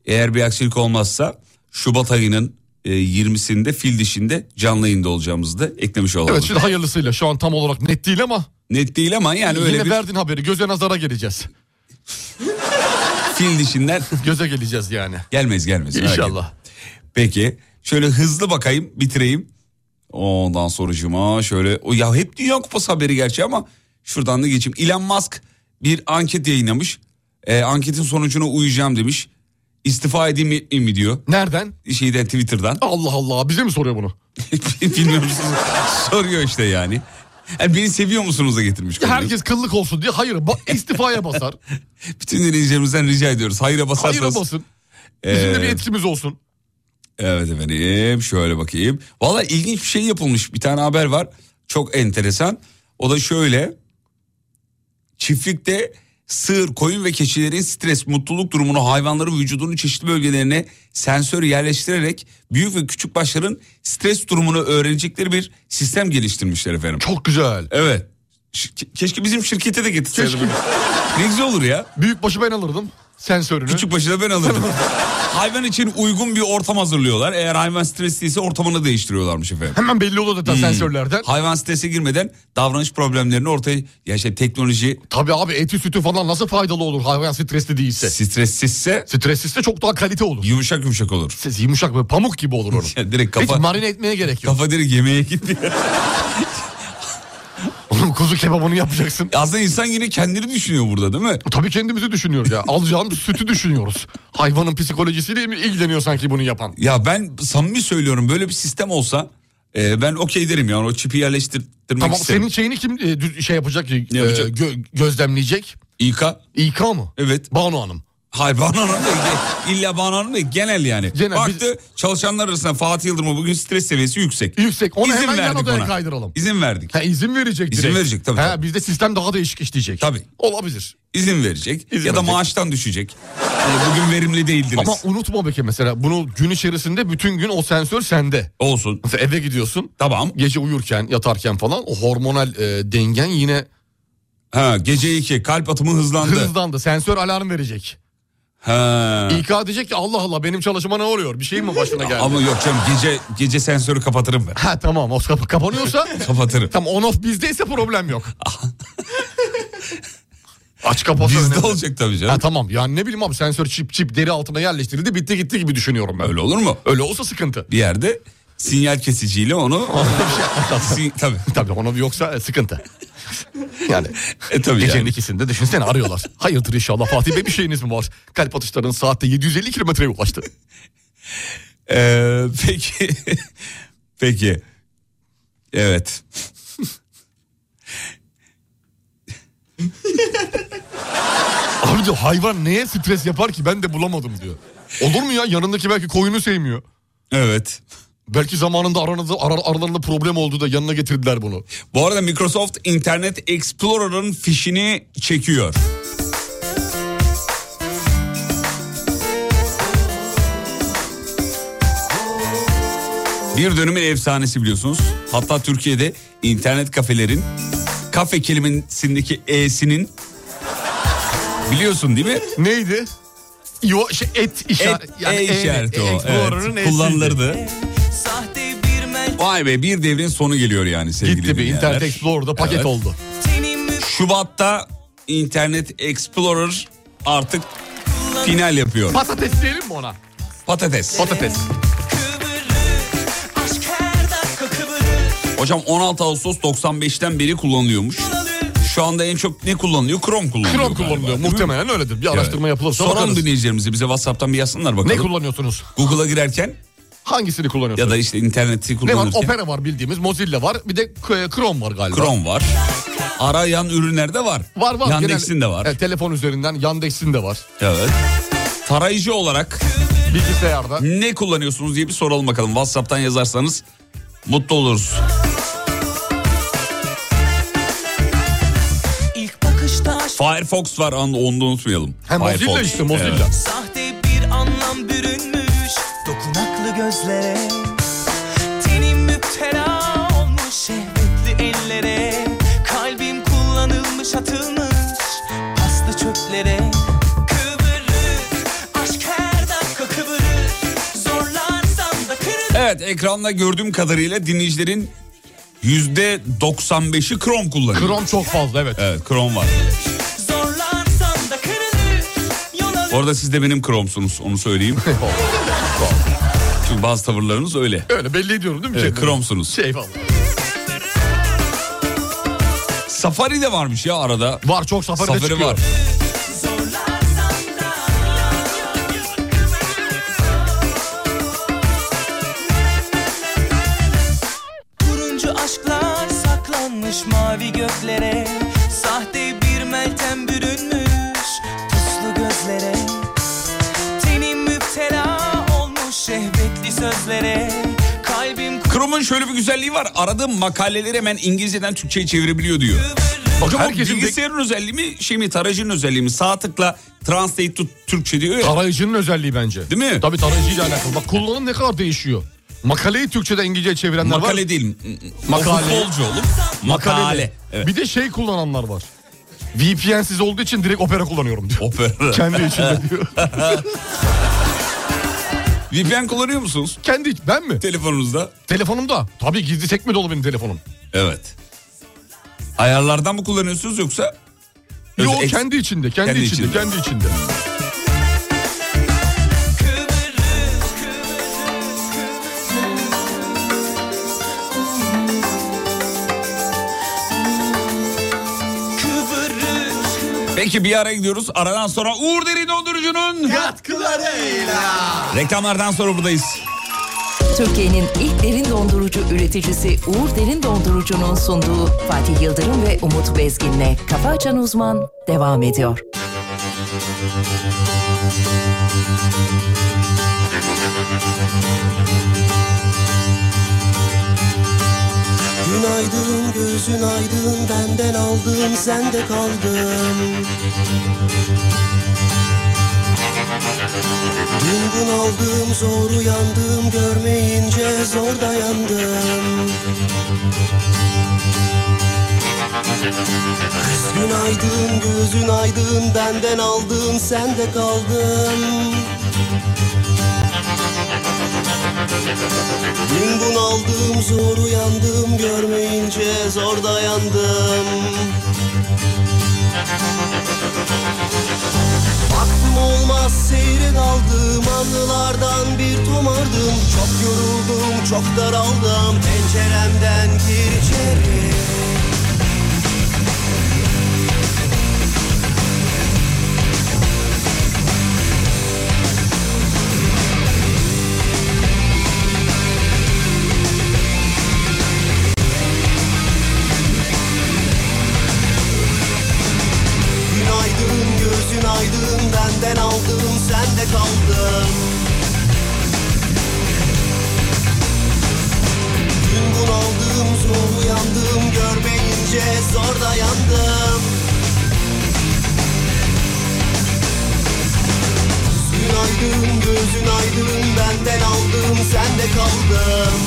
[SPEAKER 2] eğer bir aksilik olmazsa Şubat ayının e, 20'sinde fil dişinde canlı yayında olacağımızı da eklemiş olalım.
[SPEAKER 4] Evet şimdi hayırlısıyla şu an tam olarak net değil ama
[SPEAKER 2] Net değil ama yani
[SPEAKER 4] yine
[SPEAKER 2] öyle bir
[SPEAKER 4] verdiğin haberi göze nazara geleceğiz.
[SPEAKER 2] fil dişinden
[SPEAKER 4] Göze geleceğiz yani.
[SPEAKER 2] gelmez gelmez. merak
[SPEAKER 4] İnşallah.
[SPEAKER 2] etme. Peki şöyle hızlı bakayım bitireyim. Ondan sonracıma şöyle o ya hep Dünya Kupası haberi gerçi ama şuradan da geçeyim. Elon Musk bir anket yayınlamış. Ee, anketin sonucuna uyacağım demiş. İstifa edeyim mi, mi diyor
[SPEAKER 4] Nereden?
[SPEAKER 2] şeyden Twitter'dan.
[SPEAKER 4] Allah Allah bize mi soruyor bunu?
[SPEAKER 2] Bilmiyorum soruyor işte yani. Yani beni seviyor musunuz da getirmiş. konuyu.
[SPEAKER 4] Herkes kıllık olsun diye hayır ba- istifaya basar.
[SPEAKER 2] Bütün dinleyicilerimizden rica ediyoruz. Hayra basarsanız.
[SPEAKER 4] Hayıra basın. Bizim de
[SPEAKER 2] Ee,
[SPEAKER 4] bir etkimiz olsun.
[SPEAKER 2] Evet efendim şöyle bakayım. Valla ilginç bir şey yapılmış. Bir tane haber var. Çok enteresan. O da şöyle. Çiftlikte sığır, koyun ve keçilerin stres, mutluluk durumunu hayvanların vücudunun çeşitli bölgelerine sensör yerleştirerek büyük ve küçük başların stres durumunu öğrenecekleri bir sistem geliştirmişler efendim.
[SPEAKER 4] Çok güzel.
[SPEAKER 2] Evet. Ş- ke- keşke bizim şirkete de getirseydi.
[SPEAKER 4] Keşke.
[SPEAKER 2] bunu. Ne güzel olur ya.
[SPEAKER 4] Büyük başı ben alırdım. Sensörünü.
[SPEAKER 2] Küçük başı da ben alırdım. hayvan için uygun bir ortam hazırlıyorlar. Eğer hayvan stresliyse ortamını değiştiriyorlarmış efendim.
[SPEAKER 4] Hemen belli olur
[SPEAKER 2] hmm.
[SPEAKER 4] zaten sensörlerden.
[SPEAKER 2] Hayvan strese girmeden davranış problemlerini ortaya... Ya işte teknoloji
[SPEAKER 4] Tabii abi eti sütü falan nasıl faydalı olur hayvan stresli değilse.
[SPEAKER 2] stressizse
[SPEAKER 4] Stressizse çok daha kalite olur.
[SPEAKER 2] yumuşak yumuşak olur.
[SPEAKER 4] Ses yumuşak böyle pamuk gibi olur onun.
[SPEAKER 2] Ya direkt
[SPEAKER 4] Hiç
[SPEAKER 2] kafa,
[SPEAKER 4] marine etmeye gerek yok.
[SPEAKER 2] kafa direkt yemeğe gidiyor.
[SPEAKER 4] Oğlum kuzu kebabını yapacaksın. E,
[SPEAKER 2] Aslında insan yine kendini düşünüyor burada değil mi?
[SPEAKER 4] Tabii kendimizi düşünüyoruz ya. Alacağımız sütü düşünüyoruz. Hayvanın psikolojisiyle ilgileniyor sanki bunu yapan.
[SPEAKER 2] Ya ben samimi söylüyorum böyle bir sistem olsa... e, ben okey derim yani o çipi yerleştirmek
[SPEAKER 4] Tamam
[SPEAKER 2] isterim.
[SPEAKER 4] senin şeyini kim e, dü- şey yapacak, e,
[SPEAKER 2] yapacak?
[SPEAKER 4] gö- gözlemleyecek?
[SPEAKER 2] İK.
[SPEAKER 4] İK mı?
[SPEAKER 2] Evet.
[SPEAKER 4] Banu Hanım.
[SPEAKER 2] Hayır Banu Hanım da illa Banu Hanım da genel yani.
[SPEAKER 4] Genel,
[SPEAKER 2] Baktı çalışanlar arasında Fatih Yıldırım'ın bugün stres seviyesi yüksek.
[SPEAKER 4] Yüksek. Onu hemen yan
[SPEAKER 2] verdik
[SPEAKER 4] odaya
[SPEAKER 2] ona.
[SPEAKER 4] kaydıralım.
[SPEAKER 2] İzin verdik.
[SPEAKER 4] Ha, izin verecek
[SPEAKER 2] İzin
[SPEAKER 4] direkt.
[SPEAKER 2] verecek, tabii,
[SPEAKER 4] Ha,
[SPEAKER 2] tabii.
[SPEAKER 4] bizde sistem daha değişik işleyecek.
[SPEAKER 2] Tabii.
[SPEAKER 4] Olabilir.
[SPEAKER 2] İzin verecek
[SPEAKER 4] İzin
[SPEAKER 2] ya da
[SPEAKER 4] verecek.
[SPEAKER 2] maaştan düşecek. Yani bugün verimli değildiniz.
[SPEAKER 4] Ama unutma Beke mesela bunu gün içerisinde bütün gün o sensör sende.
[SPEAKER 2] Olsun.
[SPEAKER 4] Mesela eve gidiyorsun.
[SPEAKER 2] Tamam.
[SPEAKER 4] Gece uyurken, yatarken falan o hormonal e, dengen yine
[SPEAKER 2] Ha gece 2 kalp atımı hızlandı.
[SPEAKER 4] hızlandı. Sensör alarm verecek.
[SPEAKER 2] Ha.
[SPEAKER 4] İK diyecek ki Allah Allah benim çalışıma ne oluyor? Bir şey mi başına geldi?
[SPEAKER 2] Ama yok canım gece gece sensörü kapatırım ben.
[SPEAKER 4] Ha tamam o kap- kapanıyorsa
[SPEAKER 2] Kapatırım.
[SPEAKER 4] tam on off bizdeyse problem yok. Aç kapat
[SPEAKER 2] Bizde
[SPEAKER 4] önemli.
[SPEAKER 2] olacak tabii
[SPEAKER 4] Ha
[SPEAKER 2] canım.
[SPEAKER 4] tamam yani ne bileyim abi sensör çip çip deri altına yerleştirildi bitti gitti gibi düşünüyorum ben.
[SPEAKER 2] Öyle olur mu?
[SPEAKER 4] Öyle olsa sıkıntı.
[SPEAKER 2] Bir yerde sinyal kesiciyle onu Sin- tabii.
[SPEAKER 4] şey Tabii onu yoksa e, sıkıntı. Yani
[SPEAKER 2] E tabii
[SPEAKER 4] gecenin
[SPEAKER 2] yani.
[SPEAKER 4] ikisinde düşünsene arıyorlar. Hayırdır inşallah Fatih Bey bir şeyiniz mi var? Kalp atışlarının saatte 750 kilometreye ulaştı.
[SPEAKER 2] Ee, peki. peki. Evet.
[SPEAKER 4] Abi diyor hayvan neye stres yapar ki ben de bulamadım diyor. Olur mu ya yanındaki belki koyunu sevmiyor.
[SPEAKER 2] Evet.
[SPEAKER 4] Belki zamanında aranızda, ara- aralarında problem oldu da yanına getirdiler bunu.
[SPEAKER 2] Bu arada Microsoft Internet Explorer'ın fişini çekiyor. Bir dönemin efsanesi biliyorsunuz. Hatta Türkiye'de internet kafelerin kafe kelimesindeki e'sinin biliyorsun değil mi?
[SPEAKER 4] Neydi? Yo, şey, et işareti.
[SPEAKER 2] Et, e işareti o.
[SPEAKER 4] Explorer'ın
[SPEAKER 2] Evet,
[SPEAKER 4] E'siydi.
[SPEAKER 2] kullanılırdı.
[SPEAKER 8] Sahte bir meltem
[SPEAKER 2] Vay be bir devrin sonu geliyor yani sevgili
[SPEAKER 4] Gitti bir
[SPEAKER 2] dinleyenler.
[SPEAKER 4] Internet Explorer'da paket
[SPEAKER 2] Evet.
[SPEAKER 4] oldu.
[SPEAKER 2] Şubat'ta Internet Explorer artık final yapıyor.
[SPEAKER 4] Patates diyelim mi ona?
[SPEAKER 2] Patates.
[SPEAKER 4] Patates.
[SPEAKER 8] kıvırır Aşk her dakika kıvırır
[SPEAKER 2] Hocam 16 Ağustos 95'ten beri kullanılıyormuş. Şu anda en çok ne kullanılıyor? Chrome kullanılıyor.
[SPEAKER 4] Krom
[SPEAKER 2] galiba,
[SPEAKER 4] kullanılıyor.
[SPEAKER 2] değil mi?
[SPEAKER 4] Muhtemelen öyledir. Bir araştırma yapılırsa
[SPEAKER 2] Soralım
[SPEAKER 4] bakarız.
[SPEAKER 2] dinleyicilerimize bize WhatsApp'tan bir yazsınlar
[SPEAKER 4] Ne
[SPEAKER 2] bakalım.
[SPEAKER 4] kullanıyorsunuz?
[SPEAKER 2] Google'a girerken
[SPEAKER 4] Hangisini
[SPEAKER 2] ya
[SPEAKER 4] kullanıyorsunuz?
[SPEAKER 2] da işte interneti
[SPEAKER 4] ne var?
[SPEAKER 2] kullanırken
[SPEAKER 4] Opera var bildiğimiz, Mozilla var. Bir de K- Chrome var galiba.
[SPEAKER 2] Chrome var. Arayan ürünlerde var.
[SPEAKER 4] Var var.
[SPEAKER 2] Yandex'in
[SPEAKER 4] Genel-
[SPEAKER 2] de var.
[SPEAKER 4] E, telefon üzerinden Yandex'in de var.
[SPEAKER 2] evet. Tarayıcı olarak
[SPEAKER 4] Bilgisayarda.
[SPEAKER 2] ne kullanıyorsunuz diye bir soralım bakalım. WhatsApp'tan yazarsanız mutlu oluruz.
[SPEAKER 8] İlk bakışta aşk
[SPEAKER 2] Firefox var an- onu da unutmayalım.
[SPEAKER 4] Hem Mozilla
[SPEAKER 2] Firefox.
[SPEAKER 4] işte Mozilla.
[SPEAKER 2] Evet.
[SPEAKER 8] Sahte bir anlam bürünmüş Dokunaklı gözlere Tenim müptela olmuş şehvetli ellere Kalbim kullanılmış atılmış Paslı çöplere Kıvırır aşk her dakika kıvırır Zorlansam da kırılır
[SPEAKER 2] Evet ekranda gördüğüm kadarıyla dinleyicilerin yüzde 95'i Chrome kullanıyor.
[SPEAKER 4] Chrome çok fazla evet.
[SPEAKER 2] Evet Chrome var.
[SPEAKER 8] Zorlansam da kırılır Yol alır
[SPEAKER 2] Bu arada siz de benim Chrome'sunuz onu söyleyeyim. Çünkü bazı tavırlarınız öyle.
[SPEAKER 4] Öyle belli ediyorum değil mi?
[SPEAKER 2] Evet,
[SPEAKER 4] kendimi?
[SPEAKER 2] Chrome'sunuz.
[SPEAKER 4] Şey falan.
[SPEAKER 2] Safari de varmış ya arada.
[SPEAKER 4] Var çok safari, de
[SPEAKER 2] Safari
[SPEAKER 4] çıkıyor.
[SPEAKER 2] var.
[SPEAKER 8] Zorlansam da Turuncu aşklar saklanmış mavi göklere Sahte bir meltem bürünmüş puslu gözlere Tenim müptela olmuş şehvetli sözlere Kalbim
[SPEAKER 2] Chrome'un şöyle bir güzelliği var. Aradığım makaleleri hemen İngilizceden Türkçe'ye çevirebiliyor diyor.
[SPEAKER 4] Bakın
[SPEAKER 2] Her
[SPEAKER 4] herkesin de-
[SPEAKER 2] bilgisayarın özelliği mi şey mi tarayıcının özelliği mi? Sağ tıkla translate to Türkçe diyor ya.
[SPEAKER 4] Tarayıcının özelliği bence.
[SPEAKER 2] Değil mi?
[SPEAKER 4] Tabii tarayıcıyla alakalı. Bak kullanım ne kadar değişiyor. Makaleyi Türkçe'de İngilizce'ye çevirenler var.
[SPEAKER 2] Makale değil.
[SPEAKER 4] Makale.
[SPEAKER 2] Makale. Futbolcu oğlum.
[SPEAKER 4] Makale.
[SPEAKER 2] Makale. Evet.
[SPEAKER 4] Bir de şey kullananlar var. VPN'siz olduğu için direkt opera kullanıyorum diyor.
[SPEAKER 2] Opera.
[SPEAKER 4] Kendi içinde diyor.
[SPEAKER 2] VPN kullanıyor musunuz
[SPEAKER 4] Kendi iç- ben mi?
[SPEAKER 2] telefonunuzda?
[SPEAKER 4] Telefonumda. Tabii gizli sekme dolu benim telefonum.
[SPEAKER 2] Evet. Ayarlardan mı kullanıyorsunuz yoksa?
[SPEAKER 4] Yo
[SPEAKER 2] Öz-
[SPEAKER 4] kendi içinde, kendi,
[SPEAKER 2] Kendi
[SPEAKER 4] içinde,
[SPEAKER 2] içinde.
[SPEAKER 4] kendi içinde.
[SPEAKER 2] Peki bir ara gidiyoruz. Aradan sonra uh, Uğur Derin Dondurucu'nun reklamlardan sonra buradayız.
[SPEAKER 6] Türkiye'nin ilk derin dondurucu üreticisi Uğur Derin Dondurucu'nun sunduğu Fatih Yıldırım ve Umut Bezgin'le Kafa Açan Uzman devam ediyor.
[SPEAKER 9] Günaydın gözün aydın benden aldım sende kaldım Dün gün aldım zor uyandım görmeyince zor dayandım Kız günaydın gözün aydın benden aldın sende kaldım Dün bunaldım zor uyandım görmeyince zor dayandım Baktım olmaz seyre daldım anılardan bir tomardım Çok yoruldum çok daraldım penceremden gir içeri Günaydın gözün aydın benden aldım sende kaldım gözün aydın benden aldım sende kaldım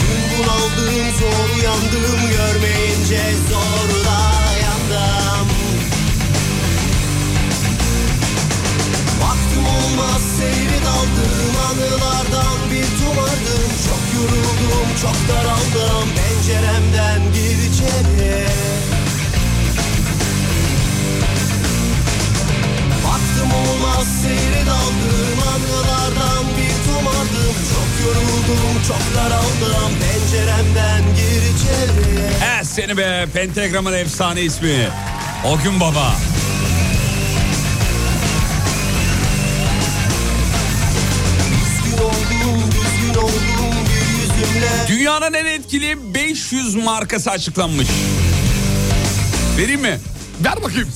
[SPEAKER 9] Dün bunaldım zor yandım görmeyince zorla yandım Vaktim olmaz seyri daldım anılardan bir tumardım Çok yoruldum çok daraldım penceremden gir içeri Baktım olmaz seyri daldım anılardan bir tumardım Çok yoruldum çok daraldım penceremden gir içeri
[SPEAKER 2] He Eh, seni be Pentagram'ın efsane ismi. O gün baba.
[SPEAKER 9] Üzgün oldum düzgün oldum bir yüzümle
[SPEAKER 2] Dünyanın en etkili 500 markası açıklanmış. Vereyim mi?
[SPEAKER 4] Ver bakayım.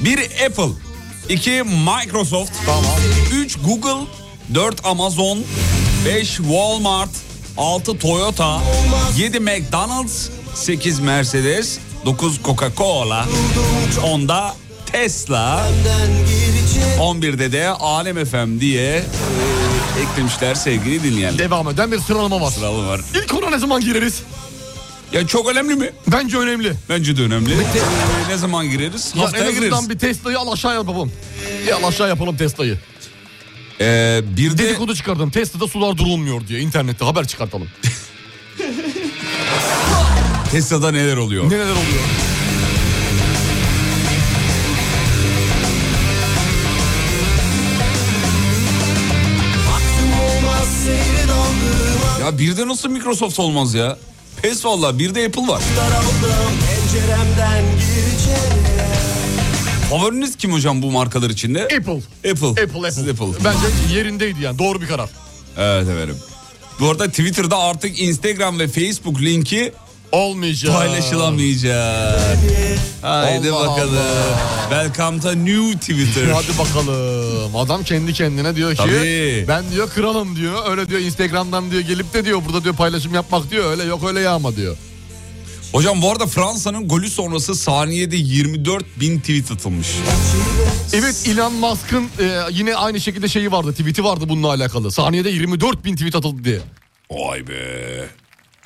[SPEAKER 2] Bir Apple, iki Microsoft,
[SPEAKER 4] Tamam.
[SPEAKER 2] 3 Google, 4 Amazon, 5 Walmart, 6 Toyota, 7 McDonald's, 8 Mercedes, 9 Coca-Cola, 10'da Tesla, 11'de de Alem FM diye e, eklemişler sevgili dinleyenler.
[SPEAKER 4] Devam eden bir sıralama var.
[SPEAKER 2] Sıralama var.
[SPEAKER 4] İlk ona ne zaman gireriz?
[SPEAKER 2] Ya çok önemli mi?
[SPEAKER 4] Bence önemli.
[SPEAKER 2] Bence de önemli. Ee, ne zaman gireriz?
[SPEAKER 4] Ya en
[SPEAKER 2] Haftaya
[SPEAKER 4] azından
[SPEAKER 2] gireriz.
[SPEAKER 4] bir Tesla'yı al aşağı yapalım. Bir al aşağı yapalım Tesla'yı.
[SPEAKER 2] Ee, bir de
[SPEAKER 4] Dedikodu çıkardım. Tesla'da sular durulmuyor diye internette haber çıkartalım.
[SPEAKER 2] Tesla'da neler oluyor?
[SPEAKER 4] Neler oluyor?
[SPEAKER 2] Ya bir de nasıl Microsoft olmaz ya? E Pes valla bir de Apple var.
[SPEAKER 9] penceremden gir içeri
[SPEAKER 2] Favoriniz kim hocam bu markalar içinde?
[SPEAKER 4] Apple.
[SPEAKER 2] Apple.
[SPEAKER 4] Apple,
[SPEAKER 2] Siz
[SPEAKER 4] Apple. Bence yerindeydi yani. Doğru bir karar.
[SPEAKER 2] Evet efendim. Bu arada Twitter'da artık Instagram ve Facebook linki
[SPEAKER 4] Olmayacak.
[SPEAKER 2] paylaşılamayacak. Haydi
[SPEAKER 4] Allah
[SPEAKER 2] bakalım. Welcome to new Twitter.
[SPEAKER 4] Hadi bakalım. Adam kendi kendine diyor ki
[SPEAKER 2] Tabii.
[SPEAKER 4] ben diyor kralım diyor. Öyle diyor Instagram'dan diyor gelip de diyor burada diyor paylaşım yapmak diyor. Öyle yok öyle yağma diyor.
[SPEAKER 2] Hocam bu arada Fransa'nın golü sonrası saniyede 24 bin tweet atılmış.
[SPEAKER 4] Evet Elon Musk'ın e, yine aynı şekilde şeyi vardı. Tweet'i vardı bununla alakalı. Saniyede 24 bin tweet atıldı diye.
[SPEAKER 2] Vay be.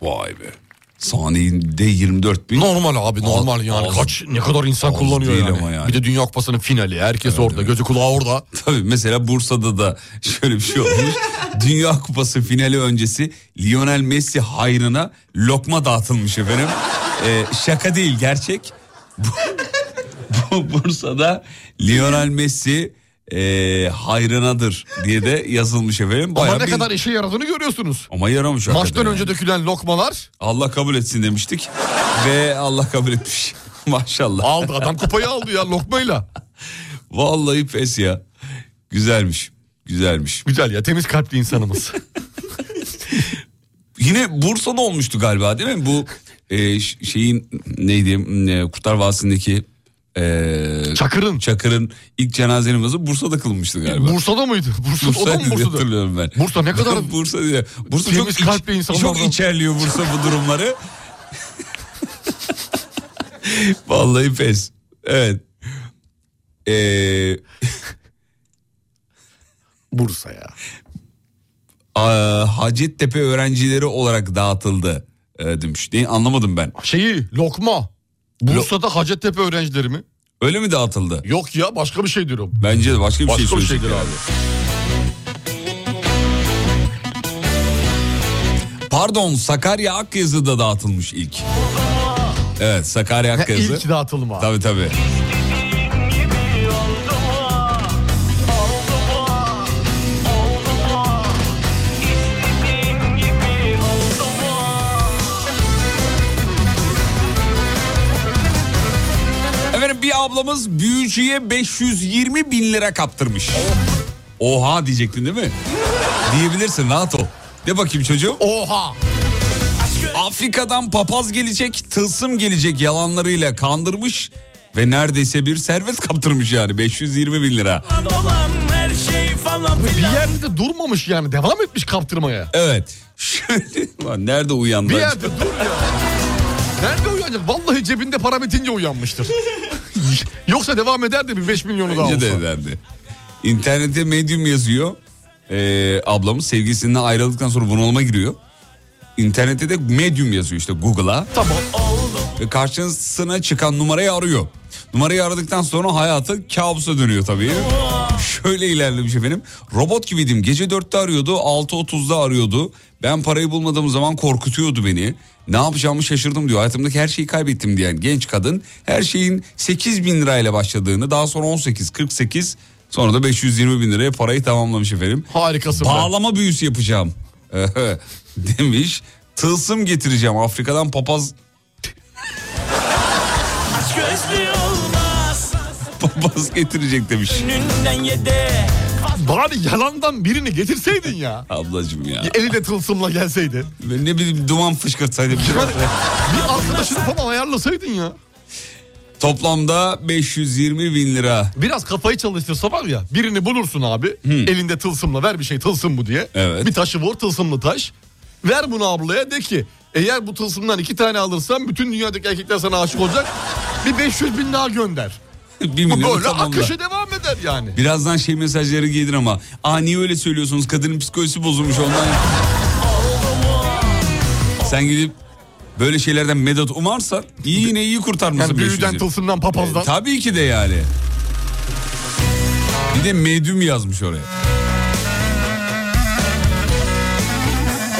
[SPEAKER 2] Vay be. Saniyede 24 bin.
[SPEAKER 4] Normal abi normal yani.
[SPEAKER 2] az-
[SPEAKER 4] Kaç ne kadar insan
[SPEAKER 2] az
[SPEAKER 4] kullanıyor
[SPEAKER 2] değil
[SPEAKER 4] yani.
[SPEAKER 2] ama yani.
[SPEAKER 4] Bir de Dünya Kupası'nın finali. Herkes orada. Gözü kulağı orada.
[SPEAKER 2] Tabii mesela Bursa'da da şöyle bir şey olmuş. Dünya Kupası finali öncesi Lionel Messi hayrına lokma dağıtılmış efendim. Ee, şaka değil gerçek. Bu- bu Bursa'da Lionel Messi e, hayrınadır diye de yazılmış efendim. Bayağı
[SPEAKER 4] Ama ne
[SPEAKER 2] bir-
[SPEAKER 4] kadar işe yaradığını görüyorsunuz.
[SPEAKER 2] ama yaramış hakikaten
[SPEAKER 4] Maçtan
[SPEAKER 2] yani.
[SPEAKER 4] önce dökülen lokmalar
[SPEAKER 2] Allah kabul etsin demiştik ve Allah kabul etmiş. Maşallah.
[SPEAKER 4] aldı. Adam kupayı aldı ya lokmayla.
[SPEAKER 2] Vallahi pes ya. Güzelmiş. Güzelmiş.
[SPEAKER 4] Güzel ya temiz kalpli insanımız.
[SPEAKER 2] Yine Bursa'da olmuştu galiba değil mi? Bu e, ş- şeyin neydi e, Kurtar Vadisi'ndeki e,
[SPEAKER 4] Çakır'ın.
[SPEAKER 2] Çakır'ın ilk cenaze namazı Bursa'da kılınmıştı galiba.
[SPEAKER 4] Bursa'da mıydı? Bursa, o da mı
[SPEAKER 2] Bursa'ydı diye
[SPEAKER 4] Bursa'da?
[SPEAKER 2] hatırlıyorum ben.
[SPEAKER 4] Bursa ne kadar-
[SPEAKER 2] Bursa diye. Bursa çok,
[SPEAKER 4] Temiz
[SPEAKER 2] iç-
[SPEAKER 4] kalpli insanlardan.
[SPEAKER 2] çok içerliyor Bursa bu durumları. Vallahi pes. Evet. Ee,
[SPEAKER 4] Bursa ya.
[SPEAKER 2] a- Hacettepe öğrencileri olarak dağıtıldı e, demiş. Ne anlamadım ben.
[SPEAKER 4] Şeyi lokma. Bursa'da Hacettepe öğrencileri mi?
[SPEAKER 2] Öyle mi dağıtıldı?
[SPEAKER 4] Yok ya başka bir şey diyorum.
[SPEAKER 2] Bence de başka bir
[SPEAKER 4] Başka
[SPEAKER 2] şey
[SPEAKER 4] bir şeydir
[SPEAKER 2] söyledik
[SPEAKER 4] abi.
[SPEAKER 2] yani. Pardon Sakarya Akyazı'da dağıtılmış ilk. Evet Sakarya
[SPEAKER 4] Ha,
[SPEAKER 2] Akyazı.
[SPEAKER 4] İlk dağıtılma.
[SPEAKER 2] Tabii tabii. Efendim bir ablamız büyücüye 520 bin lira kaptırmış. Oha diyecektin değil mi? Diyebilirsin rahat ol. De bakayım çocuğum.
[SPEAKER 4] Oha.
[SPEAKER 2] Afrika'dan papaz gelecek, tılsım gelecek yalanlarıyla kandırmış ve neredeyse bir servet kaptırmış yani 520 bin lira.
[SPEAKER 1] şey
[SPEAKER 4] Bir yerde durmamış yani devam etmiş kaptırmaya.
[SPEAKER 2] Evet. Şöyle Ulan nerede uyandı?
[SPEAKER 4] Bir
[SPEAKER 2] acaba?
[SPEAKER 4] yerde dur ya. Nerede uyanacak? Vallahi cebinde para bitince uyanmıştır. Yoksa devam ederdi bir 5 milyonu daha olsa.
[SPEAKER 2] Bence de ederdi. İnternette medium yazıyor. Ee, ablamız sevgilisinden ayrıldıktan sonra bunalıma giriyor. İnternette de medium yazıyor işte Google'a. Tamam. Ve karşısına çıkan numarayı arıyor. Numarayı aradıktan sonra hayatı kabusa dönüyor tabii. Şöyle ilerlemiş efendim. Robot gibiydim. Gece 4'te arıyordu, 6.30'da arıyordu. Ben parayı bulmadığım zaman korkutuyordu beni. Ne yapacağımı şaşırdım diyor. Hayatımdaki her şeyi kaybettim diyen genç kadın her şeyin 8 bin lirayla başladığını daha sonra 18, 48 sonra da 520 bin liraya parayı tamamlamış efendim.
[SPEAKER 4] Harikasın. be.
[SPEAKER 2] Bağlama büyüsü yapacağım demiş. Tılsım getireceğim Afrika'dan papaz
[SPEAKER 1] Aşk özlü olmaz
[SPEAKER 2] papaz getirecek demiş.
[SPEAKER 1] Önünden yede
[SPEAKER 4] Bari yalandan birini getirseydin ya.
[SPEAKER 2] Ablacım ya.
[SPEAKER 4] Ya Eli de tılsımla gelseydi.
[SPEAKER 2] Ne bileyim duman fışkırtsaydı. bir şey.
[SPEAKER 4] Bir arkadaşını falan ayarlasaydın ya.
[SPEAKER 2] Toplamda 520 bin lira.
[SPEAKER 4] Biraz kafayı çalıştırsa var ya birini bulursun abi. Elinde tılsımla ver bir şey tılsım bu diye.
[SPEAKER 2] Evet.
[SPEAKER 4] Bir taşı vur tılsımlı taş. Ver bunu ablaya de ki eğer bu tılsımdan iki tane alırsan bütün dünyadaki erkekler sana aşık olacak. Bir 500 bin daha gönder.
[SPEAKER 2] Bir
[SPEAKER 4] Bu
[SPEAKER 2] milyon
[SPEAKER 4] böyle
[SPEAKER 2] tamamla.
[SPEAKER 4] akışı devam eder yani.
[SPEAKER 2] Birazdan şey mesajları gelir ama. Aa niye öyle söylüyorsunuz? Kadının psikolojisi bozulmuş ondan. Sen gidip böyle şeylerden medet umarsan iyi yine iyi kurtarmışsın.
[SPEAKER 4] Yani büyüden
[SPEAKER 2] 520.
[SPEAKER 4] tılsımdan papazdan.
[SPEAKER 2] E, Tabii ki de yani. Bir de medyum yazmış oraya.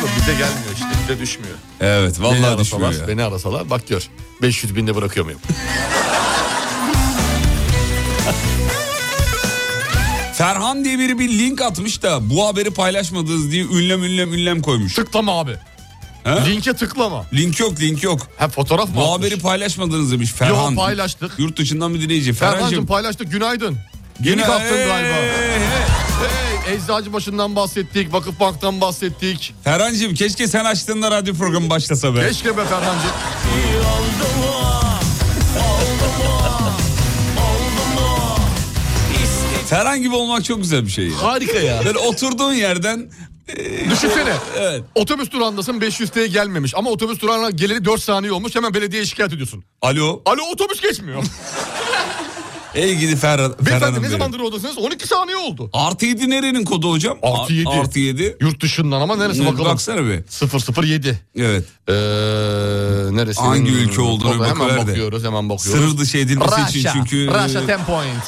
[SPEAKER 4] Oğlum bize gelmiyor işte bize düşmüyor.
[SPEAKER 2] Evet
[SPEAKER 4] Beni
[SPEAKER 2] vallahi düşmüyor
[SPEAKER 4] arasalar,
[SPEAKER 2] ya.
[SPEAKER 4] beni arasalar bak gör 500 binde bırakıyor muyum?
[SPEAKER 2] Ferhan diye biri bir link atmış da bu haberi paylaşmadınız diye ünlem ünlem ünlem koymuş.
[SPEAKER 4] tıklama abi.
[SPEAKER 2] He?
[SPEAKER 4] Linke tıklama.
[SPEAKER 2] Link yok link yok.
[SPEAKER 4] Ha fotoğraf mı?
[SPEAKER 2] Bu
[SPEAKER 4] atmış?
[SPEAKER 2] haberi paylaşmadınız demiş Ferhan.
[SPEAKER 4] Yo, paylaştık.
[SPEAKER 2] Yurt dışından bir dinleyici.
[SPEAKER 4] Ferhan'cığım
[SPEAKER 2] Ferhan'cığım
[SPEAKER 4] paylaştık günaydın. Yeni
[SPEAKER 2] Günaydın.
[SPEAKER 4] kaptın galiba.
[SPEAKER 2] Hey, hey.
[SPEAKER 4] Hey, eczacı başından bahsettik, vakıf banktan bahsettik.
[SPEAKER 2] Ferhan'cığım keşke sen açtığında radyo programı başlasa be.
[SPEAKER 4] Keşke be Ferhan'cığım.
[SPEAKER 2] Ferhan gibi olmak çok güzel bir şey. ya.
[SPEAKER 4] Harika ya.
[SPEAKER 2] Böyle oturduğun yerden e,
[SPEAKER 4] Düşünsene.
[SPEAKER 2] Evet.
[SPEAKER 4] Otobüs durağındasın 500 T'ye gelmemiş ama otobüs durağına geleli 4 saniye olmuş hemen belediyeye şikayet ediyorsun.
[SPEAKER 2] alo
[SPEAKER 4] Alo otobüs geçmiyor.
[SPEAKER 2] ey gidi Ferhan.
[SPEAKER 4] Beyefendi
[SPEAKER 2] Ferhan'ım
[SPEAKER 4] ne
[SPEAKER 2] benim.
[SPEAKER 4] zamandır oradasınız? 12 saniye oldu.
[SPEAKER 2] Artı 7 nerenin kodu hocam?
[SPEAKER 4] Artı yedi.
[SPEAKER 2] Ar- Artı 7.
[SPEAKER 4] Yurt dışından ama neresi bakalım.
[SPEAKER 2] Baksana bir.
[SPEAKER 4] 007.
[SPEAKER 2] Evet.
[SPEAKER 4] Ee, neresi? Hmm,
[SPEAKER 2] Hangi ülke olduğuna
[SPEAKER 4] Hemen
[SPEAKER 2] bakıver de.
[SPEAKER 4] bakıyoruz, hemen bakıyoruz.
[SPEAKER 2] Sınır dışı edilmesi için çünkü.
[SPEAKER 4] Russia
[SPEAKER 2] e,
[SPEAKER 4] 10 point.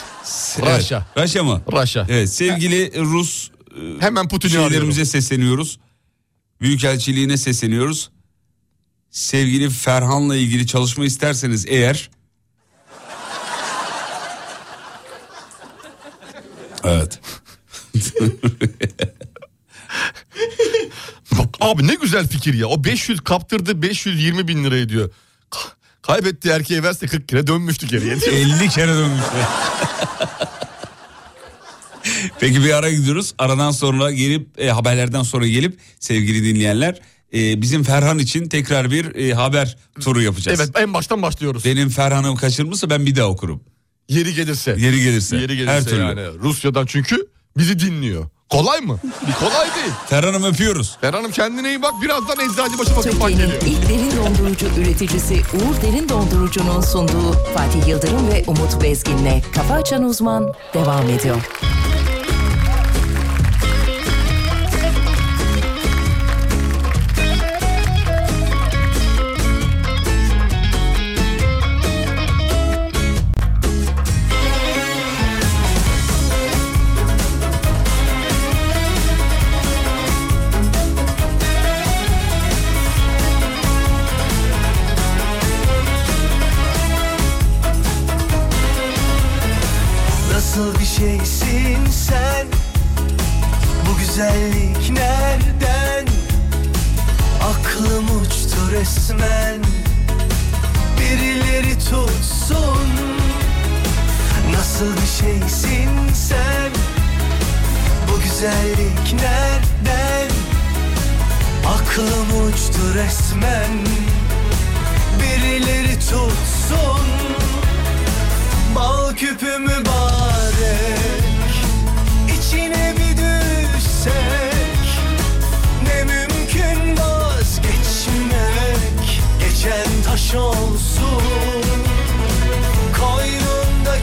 [SPEAKER 2] evet.
[SPEAKER 4] Russia.
[SPEAKER 2] Russia mı?
[SPEAKER 4] Russia.
[SPEAKER 2] Evet sevgili Rus e,
[SPEAKER 4] Hemen Putin'i arıyorum.
[SPEAKER 2] şeylerimize sesleniyoruz. Büyükelçiliğine sesleniyoruz. Sevgili Ferhan'la ilgili çalışma isterseniz eğer... Evet.
[SPEAKER 4] Bak abi ne güzel fikir ya. O 500 kaptırdı 520 bin lira ediyor. Ka- Kaybetti erkeğe verse 40 kere dönmüştü geriye. diyor.
[SPEAKER 2] 50 kere dönmüş. Peki bir ara gidiyoruz. Aradan sonra gelip e, haberlerden sonra gelip sevgili dinleyenler e, bizim Ferhan için tekrar bir e, haber turu yapacağız.
[SPEAKER 4] evet en baştan başlıyoruz.
[SPEAKER 2] Benim Ferhan'ım kaçırmışsa ben bir daha okurum.
[SPEAKER 4] Yeri gelirse.
[SPEAKER 2] Yeri gelirse.
[SPEAKER 4] Yeri gelirse
[SPEAKER 2] Her türlü.
[SPEAKER 4] yani. Rusya'dan çünkü bizi dinliyor. Kolay mı? Bir kolay değil.
[SPEAKER 2] Ferhan'ım öpüyoruz.
[SPEAKER 4] Ferhan'ım kendine iyi bak. Birazdan Eczacıbaşı bakıp
[SPEAKER 6] Türkiye'nin
[SPEAKER 4] geliyor.
[SPEAKER 6] ilk derin dondurucu üreticisi Uğur Derin Dondurucu'nun sunduğu Fatih Yıldırım ve Umut Bezgin'le Kafa Açan Uzman devam ediyor.
[SPEAKER 10] Nasıl bir şeysin sen? Bu güzellik nereden? Aklım uçtu resmen. Birileri tutsun. Nasıl bir şeysin sen? Bu güzellik nereden? Aklım uçtu resmen. Birileri tutsun. Bal küpü mübarek içine bir düşsek Ne mümkün vazgeçmek Geçen taş olsun Koynunda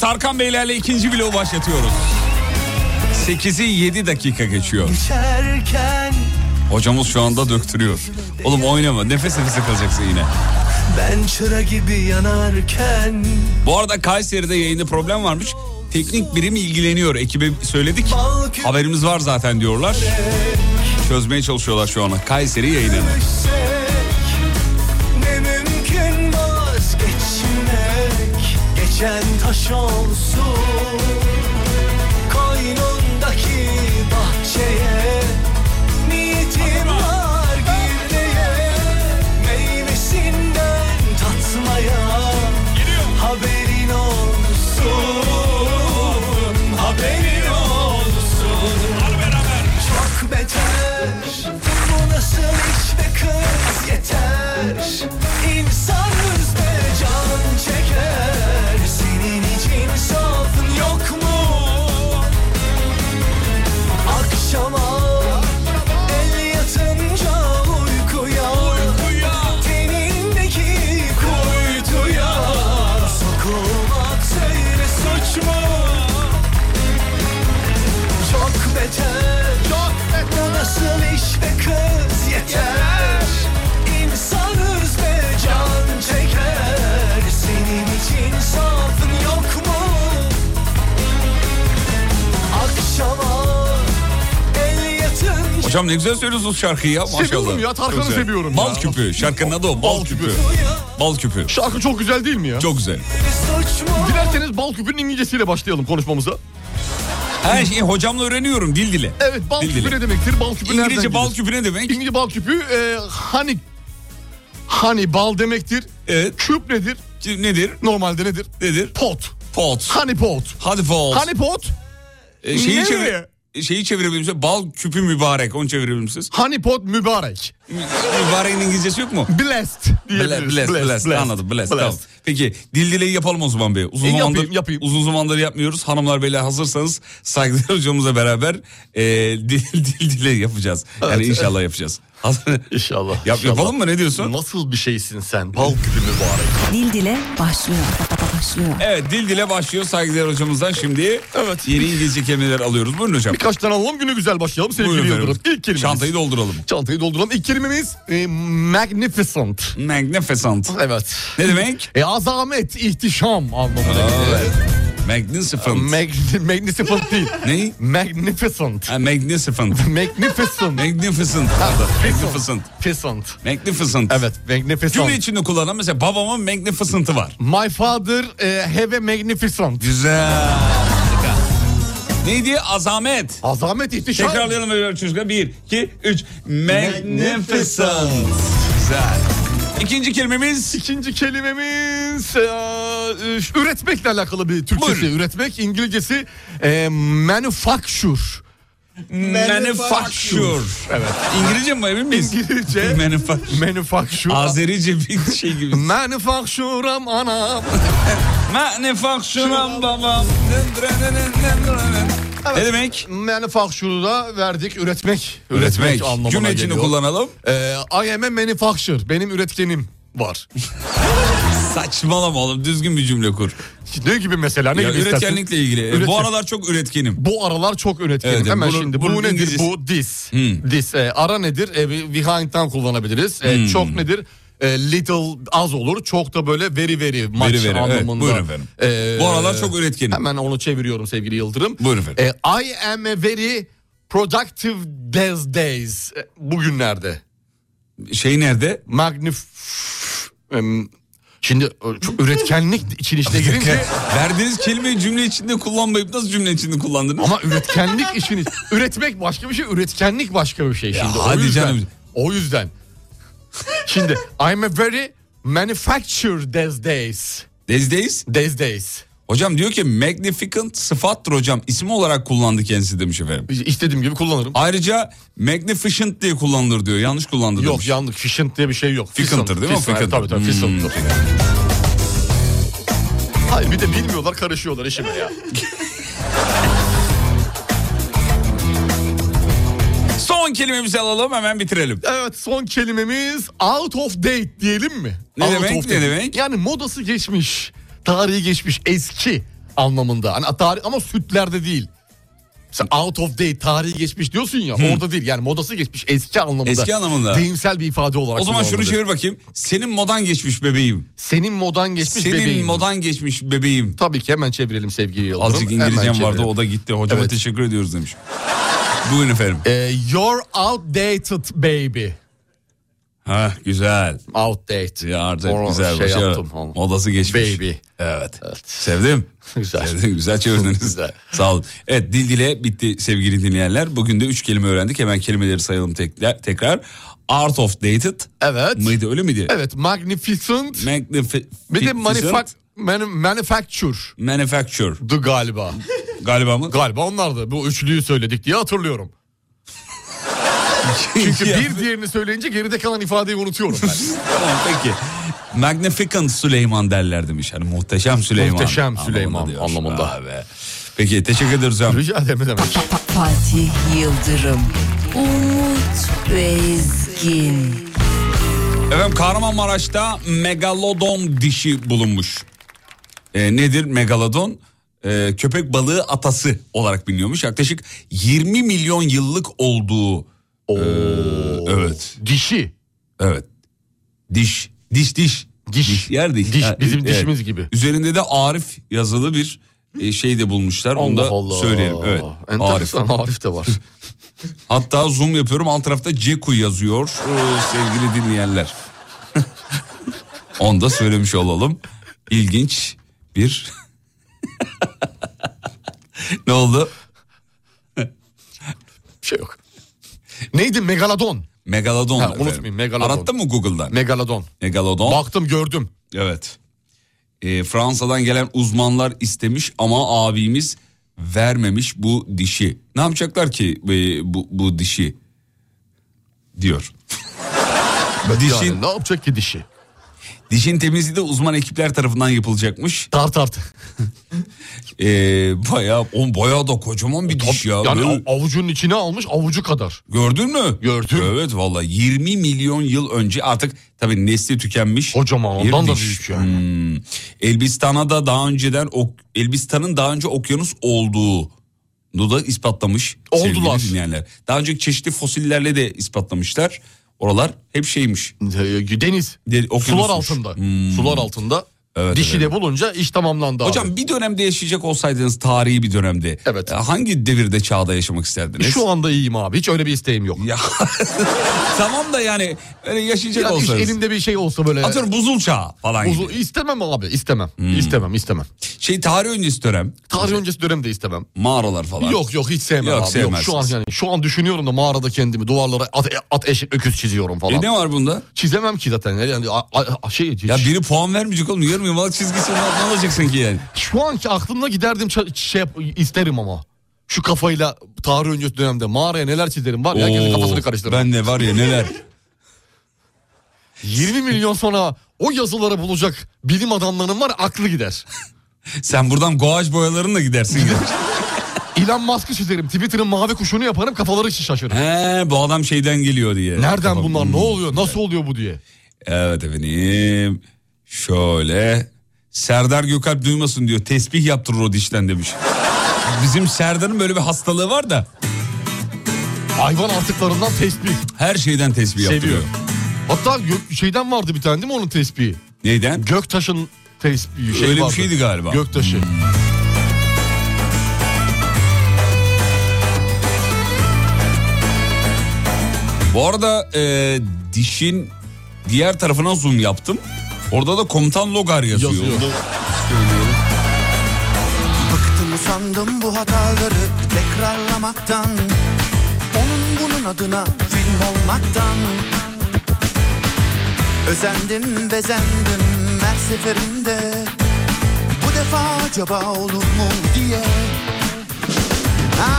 [SPEAKER 2] Tarkan Beylerle ikinci bloğu başlatıyoruz. 8'i 7 dakika geçiyor.
[SPEAKER 10] Geçerken
[SPEAKER 2] Hocamız şu anda döktürüyor. Oğlum oynama nefes nefese kalacaksın yine.
[SPEAKER 10] ben çıra gibi yanarken
[SPEAKER 2] Bu arada Kayseri'de yayında problem varmış. Teknik birim ilgileniyor. Ekibe söyledik. Haberimiz var zaten diyorlar. Çözmeye çalışıyorlar şu ana. Kayseri yayınını.
[SPEAKER 10] düşsek Ne mümkün vazgeçmek Geçen taş olsun Koynundaki bahçeye Niyetim var girmeye Meyvesinden tatmaya Haberin olsun Haberin olsun çok beter Bu nasıl iş be kız yeter İnsanız be can çeker Senin için safın yok mu? Akşama el yatınca uykuya Tenindeki kuytuya Sokulmak söyle suç mu? Çok beter Çok beter Bu nasıl iş be kız yeter İnsanız be can çeker Senin için safın yok mu? Akşama el yatınca
[SPEAKER 2] Hocam ne güzel söylüyorsunuz şarkıyı ya maşallah.
[SPEAKER 4] Seviyorum ya, Tarkan'ı
[SPEAKER 2] Güzel.
[SPEAKER 4] seviyorum
[SPEAKER 2] Bal
[SPEAKER 4] ya.
[SPEAKER 2] küpü şarkının adı o. Bal,
[SPEAKER 4] Bal
[SPEAKER 2] küpü.
[SPEAKER 4] küpü.
[SPEAKER 2] Bal küpü.
[SPEAKER 4] Şarkı çok güzel değil mi ya?
[SPEAKER 2] Çok güzel.
[SPEAKER 10] suç mu?
[SPEAKER 4] Dilerseniz bal küpünün İngilizcesiyle başlayalım konuşmamıza.
[SPEAKER 2] Her şeyi hocamla öğreniyorum dil dile.
[SPEAKER 4] Evet bal
[SPEAKER 2] Dil
[SPEAKER 4] küpü
[SPEAKER 2] dili.
[SPEAKER 4] ne demektir? Bal küpü nereden
[SPEAKER 2] İngilizce bal
[SPEAKER 4] gelir?
[SPEAKER 2] küpü ne demek?
[SPEAKER 4] İngilizce bal küpü e, hani hani bal demektir.
[SPEAKER 2] Evet.
[SPEAKER 4] Küp nedir?
[SPEAKER 2] Nedir?
[SPEAKER 4] Normalde nedir?
[SPEAKER 2] Nedir?
[SPEAKER 4] Pot.
[SPEAKER 2] Pot.
[SPEAKER 4] Honey pot.
[SPEAKER 2] Hadi pot.
[SPEAKER 4] Honey pot.
[SPEAKER 2] Ee, şeyi
[SPEAKER 4] Ne
[SPEAKER 2] çevir
[SPEAKER 4] mi?
[SPEAKER 2] şeyi çevirebilir misiniz? Bal küpü mübarek. Onu çevirebilir misiniz?
[SPEAKER 4] Honey pot mübarek.
[SPEAKER 2] Mübareğin İngilizcesi yok mu?
[SPEAKER 4] Blessed diyebiliriz.
[SPEAKER 2] Bless, bless, bless. Anladım, bless. Tamam. Peki, dil dileği yapalım o zaman bir. Uzun
[SPEAKER 4] E,
[SPEAKER 2] zamandır,
[SPEAKER 4] yapayım, yapayım.
[SPEAKER 2] Uzun zamandır yapmıyoruz. Hanımlar beyler hazırsanız saygıdeğer hocamızla beraber e, dil, dil dileği yapacağız. Yani
[SPEAKER 4] Evet.
[SPEAKER 2] inşallah yapacağız. Hazır-
[SPEAKER 4] İnşallah.
[SPEAKER 2] Yap, yapalım mı ne diyorsun?
[SPEAKER 4] Nasıl bir şeysin sen? Bal küpü mübarek.
[SPEAKER 11] Dil dile başlıyor. Başlıyor.
[SPEAKER 2] Evet dil dile başlıyor saygıdeğer hocamızdan şimdi.
[SPEAKER 4] Evet.
[SPEAKER 2] Yeni İngilizce kelimeler alıyoruz. Buyurun hocam.
[SPEAKER 4] Birkaç tane alalım günü güzel başlayalım sevgili
[SPEAKER 2] Buyurun
[SPEAKER 4] Yıldırım.
[SPEAKER 2] efendim.
[SPEAKER 4] İlk kelimemiz.
[SPEAKER 2] Çantayı dolduralım.
[SPEAKER 4] Çantayı dolduralım. İlk kelimemiz e, magnificent.
[SPEAKER 2] Magnificent.
[SPEAKER 4] Evet.
[SPEAKER 2] Ne demek?
[SPEAKER 4] E, azamet, ihtişam anlamına gelir.
[SPEAKER 2] Evet. Magnificent.
[SPEAKER 4] Mag- magnificent değil.
[SPEAKER 2] ne?
[SPEAKER 4] Magnificent.
[SPEAKER 2] Ha, magnificent.
[SPEAKER 4] Magnificent.
[SPEAKER 2] Magnificent. Pardon, Magnificent.
[SPEAKER 4] Magnificent.
[SPEAKER 2] Magnificent.
[SPEAKER 4] Evet, magnificent.
[SPEAKER 2] Cümle içinde kullanan mesela babamın magnificent'ı var.
[SPEAKER 4] My father e, have a magnificent.
[SPEAKER 2] Güzel. Neydi? Azamet.
[SPEAKER 4] Azamet, ihtişam.
[SPEAKER 2] Tekrarlayalım öyle çocuklar. Bir, iki, üç. Magnificent. Güzel. İkinci kelimemiz
[SPEAKER 4] İkinci kelimemiz e, e, üretmekle alakalı bir Türkçesi.
[SPEAKER 2] Buyurun.
[SPEAKER 4] Üretmek İngilizcesi e, manufacture.
[SPEAKER 2] manufacture.
[SPEAKER 4] Evet.
[SPEAKER 2] İngilizce mi emin miyiz?
[SPEAKER 4] İngilizce.
[SPEAKER 2] Manufacture.
[SPEAKER 4] Manufacture.
[SPEAKER 2] Azerice bir şey gibi.
[SPEAKER 4] Manufacture'am anam.
[SPEAKER 2] Manufacture'ım babam. Ne demek?
[SPEAKER 4] Manufacture'u da verdik. Üretmek.
[SPEAKER 2] Üretmek.
[SPEAKER 4] anlamına
[SPEAKER 2] Cümle içinde
[SPEAKER 4] geliyor.
[SPEAKER 2] kullanalım.
[SPEAKER 4] E, I am a manufacturer. Benim üretkenim var.
[SPEAKER 2] Saçmalama oğlum düzgün bir cümle kur.
[SPEAKER 4] ne gibi mesela? Ne
[SPEAKER 2] Ya
[SPEAKER 4] gibi istersin?
[SPEAKER 2] üretkenlikle ilgili. E,
[SPEAKER 4] Üretken-
[SPEAKER 2] Bu aralar çok üretkenim.
[SPEAKER 4] Bu aralar çok üretkenim.
[SPEAKER 2] Evet,
[SPEAKER 4] Hemen
[SPEAKER 2] bunu-
[SPEAKER 4] şimdi bu
[SPEAKER 2] bunun
[SPEAKER 4] nedir?
[SPEAKER 2] İngilizcesi-
[SPEAKER 4] Bu this. This. e, ara nedir? E, bir behind'dan kullanabiliriz. E,
[SPEAKER 2] Hmm.
[SPEAKER 4] Çok nedir? E, little az olur. Çok da böyle very very much
[SPEAKER 2] Veri veri. Evet,
[SPEAKER 4] anlamında.
[SPEAKER 2] buyurun efendim.
[SPEAKER 4] E,
[SPEAKER 2] Bu aralar çok üretkenim.
[SPEAKER 4] Hemen onu çeviriyorum sevgili Yıldırım.
[SPEAKER 2] Buyurun efendim.
[SPEAKER 4] E, I am a very productive these days. E, Bugünlerde.
[SPEAKER 2] Şey nerede?
[SPEAKER 4] Magnif... Em, Şimdi e, çok üretkenlik için içine girince
[SPEAKER 2] Verdiğiniz kelimeyi cümle içinde kullanmayıp nasıl cümle içinde kullandınız?
[SPEAKER 4] Ama üretkenlik işini üretmek başka bir şey, üretkenlik başka bir şey şimdi.
[SPEAKER 2] hadi
[SPEAKER 4] o yüzden,
[SPEAKER 2] canım.
[SPEAKER 4] O yüzden. Şimdi I'm a very manufactured these days.
[SPEAKER 2] Dezdeyiz.
[SPEAKER 4] These days.
[SPEAKER 2] Hocam diyor ki magnificent sıfattır hocam. İsim olarak kullandı kendisi demiş efendim.
[SPEAKER 4] İstediğim gibi kullanırım.
[SPEAKER 2] Ayrıca magnificent diye kullanılır diyor. Yanlış kullandı
[SPEAKER 4] yok
[SPEAKER 2] demiş.
[SPEAKER 4] yanlış. Fishent diye bir şey yok.
[SPEAKER 2] Ficant'tır
[SPEAKER 4] Fishent,
[SPEAKER 2] değil mi?
[SPEAKER 4] fishent, evet,
[SPEAKER 2] Ficant.
[SPEAKER 4] Tabii tabii.
[SPEAKER 2] Hmm.
[SPEAKER 4] Fishent'tır. Hayır bir de bilmiyorlar karışıyorlar işime ya.
[SPEAKER 2] Son kelimemizi alalım hemen bitirelim.
[SPEAKER 4] Evet son kelimemiz out of date diyelim mi?
[SPEAKER 2] Ne
[SPEAKER 4] out
[SPEAKER 2] demek,
[SPEAKER 4] of
[SPEAKER 2] ne demek?
[SPEAKER 4] Yani modası geçmiş, tarihi geçmiş, eski anlamında. Hani tarih ama sütlerde değil. Sen out of date tarihi geçmiş diyorsun ya orada değil yani modası geçmiş eski anlamında.
[SPEAKER 2] Eski anlamında.
[SPEAKER 4] Deyimsel bir ifade olarak.
[SPEAKER 2] O zaman şunu
[SPEAKER 4] kullanılabilir.
[SPEAKER 2] çevir bakayım. Senin modan geçmiş bebeğim.
[SPEAKER 4] Senin modan geçmiş
[SPEAKER 2] Senin
[SPEAKER 4] bebeğim.
[SPEAKER 2] modan geçmiş bebeğim.
[SPEAKER 4] Tabii ki hemen çevirelim sevgili Yıldırım.
[SPEAKER 2] Azıcık
[SPEAKER 4] Hemen
[SPEAKER 2] İngilizcem vardı
[SPEAKER 4] çevirelim.
[SPEAKER 2] o da gitti. Hocama
[SPEAKER 4] Evet.
[SPEAKER 2] teşekkür ediyoruz demiş. Buyurun efendim.
[SPEAKER 4] Ee, you're outdated baby.
[SPEAKER 2] Ha güzel.
[SPEAKER 4] Outdated.
[SPEAKER 2] Ya artık
[SPEAKER 4] Or-
[SPEAKER 2] güzel.
[SPEAKER 4] şey
[SPEAKER 2] başa-
[SPEAKER 4] yaptım.
[SPEAKER 2] Modası geçmiş.
[SPEAKER 4] Baby.
[SPEAKER 2] Evet. Sevdim.
[SPEAKER 4] Güzel.
[SPEAKER 2] Sevdim, Güzel çevirdiniz.
[SPEAKER 4] Güzel.
[SPEAKER 2] Sağ olun. Evet dil dile bitti sevgili dinleyenler. Bugün de üç kelime öğrendik. Hemen kelimeleri sayalım tekrar. tekrar. Art of dated
[SPEAKER 4] Evet.
[SPEAKER 2] mıydı öyle miydi?
[SPEAKER 4] Evet magnificent.
[SPEAKER 2] Magnifi-
[SPEAKER 4] bir de manufac-
[SPEAKER 2] manufacture.
[SPEAKER 4] manu- manufacture. Du galiba.
[SPEAKER 2] galiba mı?
[SPEAKER 4] galiba onlardı. Bu üçlüyü söyledik diye hatırlıyorum. Çünkü bir diğerini söyleyince geride kalan ifadeyi unutuyorum ben.
[SPEAKER 2] Tamam peki. Magnificent Süleyman derler demiş. Hani muhteşem Süleyman.
[SPEAKER 4] Muhteşem
[SPEAKER 2] anlamında
[SPEAKER 4] Süleyman
[SPEAKER 2] diyor.
[SPEAKER 4] anlamında.
[SPEAKER 2] Vay be. Peki teşekkür ederiz hocam.
[SPEAKER 4] Rica ederim ne demek.
[SPEAKER 6] Fatih Yıldırım, Umut Bezgin,
[SPEAKER 2] Efendim Kahramanmaraş'ta megalodon dişi bulunmuş. Ee, nedir megalodon? Ee, köpek balığı atası olarak biliniyormuş. Yaklaşık 20 milyon yıllık olduğu. ee, evet,
[SPEAKER 4] Dişi.
[SPEAKER 2] evet. Diş, diş, diş.
[SPEAKER 4] Diş.
[SPEAKER 2] yer diş.
[SPEAKER 4] Diş,
[SPEAKER 2] Ha,
[SPEAKER 4] bizim
[SPEAKER 2] evet.
[SPEAKER 4] dişimiz gibi.
[SPEAKER 2] Üzerinde de Arif yazılı bir e, şey de bulmuşlar. Onu da
[SPEAKER 4] Allah Allah.
[SPEAKER 2] söyleyelim. Evet. Arif.
[SPEAKER 4] Enteresan Arif. de var.
[SPEAKER 2] Hatta zoom yapıyorum alt tarafta Ceku yazıyor ee, sevgili dinleyenler. Onu da söylemiş olalım. İlginç bir... ne oldu?
[SPEAKER 4] Bir şey yok. Neydi Megalodon?
[SPEAKER 2] Megalodon.
[SPEAKER 4] Ha,
[SPEAKER 2] efendim.
[SPEAKER 4] unutmayayım, Megalodon.
[SPEAKER 2] Arattın mı Google'dan?
[SPEAKER 4] Megalodon.
[SPEAKER 2] Megalodon.
[SPEAKER 4] Baktım gördüm.
[SPEAKER 2] Evet. Ee, Fransa'dan gelen uzmanlar istemiş ama abimiz vermemiş bu dişi. Ne yapacaklar ki e, bu, bu dişi? Diyor.
[SPEAKER 4] Dişin...
[SPEAKER 2] Dişin-
[SPEAKER 4] ne yapacak ki dişi?
[SPEAKER 2] Dişin temizliği de uzman ekipler tarafından yapılacakmış.
[SPEAKER 4] Tart art.
[SPEAKER 2] Ee, bayağı, on bayağı da kocaman bir diş ya.
[SPEAKER 4] yani
[SPEAKER 2] Böyle-
[SPEAKER 4] av- avucunun içine almış avucu kadar.
[SPEAKER 2] gördün mü?
[SPEAKER 4] Gördüm.
[SPEAKER 2] Evet valla 20 milyon yıl önce artık tabii nesli tükenmiş.
[SPEAKER 4] Kocaman
[SPEAKER 2] bir
[SPEAKER 4] ondan da
[SPEAKER 2] diş.
[SPEAKER 4] büyük yani.
[SPEAKER 2] Hmm. Elbistan'a da daha önceden ok, Elbistan'ın daha önce okyanus olduğu da ispatlamış. sevgili
[SPEAKER 4] Oldular.
[SPEAKER 2] dinleyenler. Daha önce çeşitli fosillerle de ispatlamışlar. Oralar hep şeymiş.
[SPEAKER 4] Ee, Deniz.
[SPEAKER 2] De- okyanusmuş.
[SPEAKER 4] Sular altında.
[SPEAKER 2] Hmm.
[SPEAKER 4] Sular altında.
[SPEAKER 2] Evet,
[SPEAKER 4] dişi
[SPEAKER 2] evet.
[SPEAKER 4] de bulunca iş tamamlandı abi.
[SPEAKER 2] Hocam bir dönemde yaşayacak olsaydınız tarihi bir dönemde.
[SPEAKER 4] Evet.
[SPEAKER 2] e, Hangi devirde çağda yaşamak isterdiniz?
[SPEAKER 4] Şu anda iyiyim abi. Hiç öyle bir isteğim yok.
[SPEAKER 2] Ya tamam da yani öyle yaşayacak
[SPEAKER 4] Yani hiç
[SPEAKER 2] olsanız.
[SPEAKER 4] elimde bir şey olsa böyle.
[SPEAKER 2] Atıyorum buzul çağı falan
[SPEAKER 4] Uzun,
[SPEAKER 2] gibi. Hmm.
[SPEAKER 4] istemem abi istemem. İstemem istemem.
[SPEAKER 2] Şey tarih öncesi dönem
[SPEAKER 4] Tarih öncesi dönem de istemem.
[SPEAKER 2] mağaralar falan.
[SPEAKER 4] Yok yok hiç sevmem
[SPEAKER 2] Yok,
[SPEAKER 4] abi. Yok, şu an
[SPEAKER 2] sevmezsiniz.
[SPEAKER 4] yani şu an düşünüyorum da mağarada kendimi duvarlara at, at eşek öküz çiziyorum falan.
[SPEAKER 2] E ne var bunda?
[SPEAKER 4] Çizemem ki zaten. Yani a- a- a- şey
[SPEAKER 2] Ya
[SPEAKER 4] ya
[SPEAKER 2] biri puan vermeyecek oğlum yarım yamalak çizgisi var. ne olacak sanki yani?
[SPEAKER 4] şu anki aklımda giderdim ça- şey yap- isterim ama. Şu kafayla tarih öncesi dönemde mağaraya neler çizerim var ya herkesin
[SPEAKER 2] Oo,
[SPEAKER 4] kafasını karıştırırım.
[SPEAKER 2] Ben de var ya neler.
[SPEAKER 4] 20 milyon sonra o yazıları bulacak bilim adamlarının var ya, aklı gider.
[SPEAKER 2] Sen buradan goaj boyalarınla gidersin. ya.
[SPEAKER 4] Elon Musk'ı çizerim Twitter'ın mavi kuşunu yaparım kafaları şaşırır.
[SPEAKER 2] He bu adam şeyden geliyor diye.
[SPEAKER 4] Nereden
[SPEAKER 2] Tamam.
[SPEAKER 4] bunlar ne oluyor nasıl oluyor bu diye.
[SPEAKER 2] Hmm. Evet efendim. Şöyle. Serdar Gökalp duymasın diyor. Tesbih yaptırır o dişten demiş. Bizim Serdar'ın böyle bir hastalığı var da
[SPEAKER 4] Hayvan artıklarından tespih.
[SPEAKER 2] her şeyden tesbih yaptırıyor.
[SPEAKER 4] Seviyor. Hatta gö- şeyden vardı bir tane değil mi onun tespihi?
[SPEAKER 2] Neyden?
[SPEAKER 4] Göktaş'ın tespihi şey
[SPEAKER 2] Öyle bir
[SPEAKER 4] vardı.
[SPEAKER 2] şeydi galiba. Hmm.
[SPEAKER 4] Göktaşı.
[SPEAKER 2] Bu arada e, dişin diğer tarafına zoom yaptım. Orada da komutan Logar yazıyor.
[SPEAKER 4] Yazıyor.
[SPEAKER 12] Bıktım usandım bu hataları tekrarlamaktan Onun bunun adına film olmaktan Özendim bezendim her seferinde Bu defa acaba olur mu diye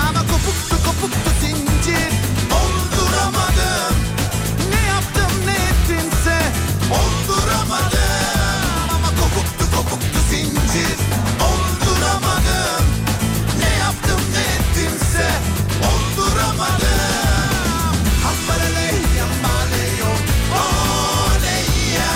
[SPEAKER 12] Ama kopuktu kopuktu zincir Olduramadım Ne yaptım ne ettimse Olduramadım Ama kopuktu kopuktu zincir Olduramadım Ne yaptım ne ettimse Olduramadım Hambaraleyya maleyo Oleyya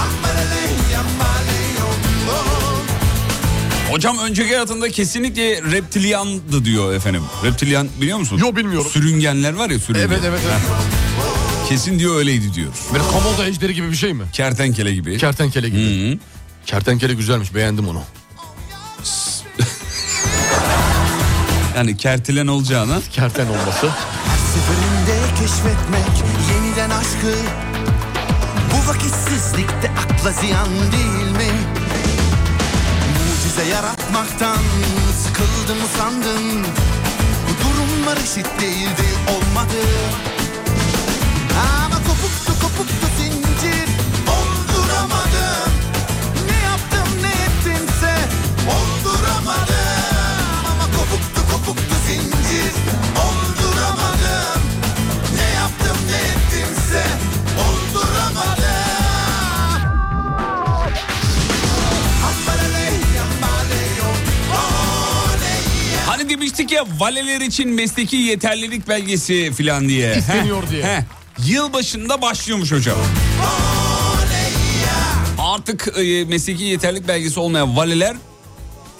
[SPEAKER 12] Hambaraleyya maleyo Oh
[SPEAKER 2] Hocam önceki hayatında kesinlikle reptilyandı diyor efendim. Reptilyan biliyor musun? Yok bilmiyorum. Sürüngenler var ya sürüngen.
[SPEAKER 4] Evet, evet, evet.
[SPEAKER 2] Heh. Kesin diyor öyleydi diyor.
[SPEAKER 4] Böyle komodo ejderi gibi bir şey mi?
[SPEAKER 2] Kertenkele gibi. Hmm.
[SPEAKER 4] Kertenkele gibi. Kertenkele güzelmiş beğendim onu.
[SPEAKER 2] Yani kertilen olacağına.
[SPEAKER 4] Kerten olması.
[SPEAKER 12] Seferinde keşfetmek yeniden aşkı Bu vakitsizlikte akla ziyan değil mi? Mucize yaratmaktan sıkıldım usandım Bu durumlar eşit değildi olmadı Ama kopuktu kopuktu zincir Olduramadım Ne yaptım ne ettimse Olduramadım Ama kopuktu kopuktu zincir Olduramadım ne yaptım ne ettimse olduramadım.
[SPEAKER 2] Hani demiştik ya valeler için mesleki yeterlilik belgesi filan diye.
[SPEAKER 4] İsteniyor
[SPEAKER 2] Heh,
[SPEAKER 4] diye.
[SPEAKER 2] heh. Yılbaşında başlıyormuş hocam. Artık e, mesleki yeterlilik belgesi olmayan valeler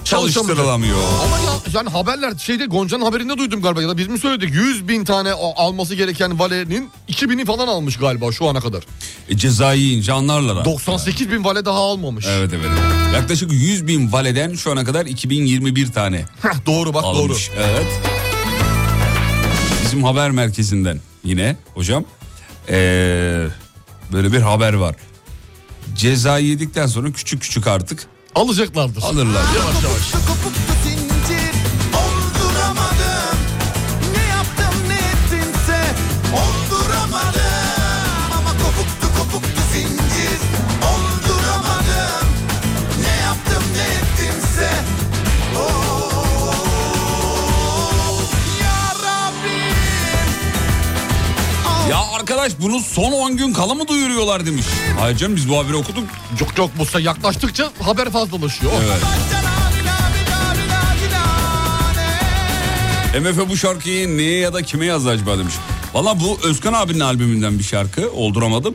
[SPEAKER 2] çalıştırılamıyor.
[SPEAKER 4] Ama ya, yani haberler şeyde Gonca'nın haberinde duydum galiba ya da biz mi söyledik 100 bin tane a- alması gereken valenin 2000'i falan almış galiba şu ana kadar.
[SPEAKER 2] E, cezayı yiyince anlarlar.
[SPEAKER 4] 98 bin vale daha almamış.
[SPEAKER 2] Evet evet. Yaklaşık 100 bin valeden şu ana kadar 2021 tane.
[SPEAKER 4] Heh, doğru bak
[SPEAKER 2] almış. Evet. Bizim haber merkezinden yine hocam ee, böyle bir haber var. Ceza yedikten sonra küçük küçük artık
[SPEAKER 4] doğru. Alacaklardır.
[SPEAKER 2] alırlar.
[SPEAKER 4] Yavaş yavaş.
[SPEAKER 12] Zincir olduramadım. Ne yaptım ne ettimse olduramadım. Ama kopuktu kopuktu zincir olduramadım. Ne yaptım ne ettimse oh, ya Rabbim.
[SPEAKER 2] Ya arkadaş bunu son 10 gün kala mı duyuruyorlar demiş. Hayır canım biz bu haberi okuduk.
[SPEAKER 4] Yok yok Musa yaklaştıkça haber fazlalaşıyor.
[SPEAKER 2] Evet. MF bu şarkıyı neye ya da kime yazdı acaba demiş. Valla bu Özkan abinin albümünden bir şarkı olduramadım.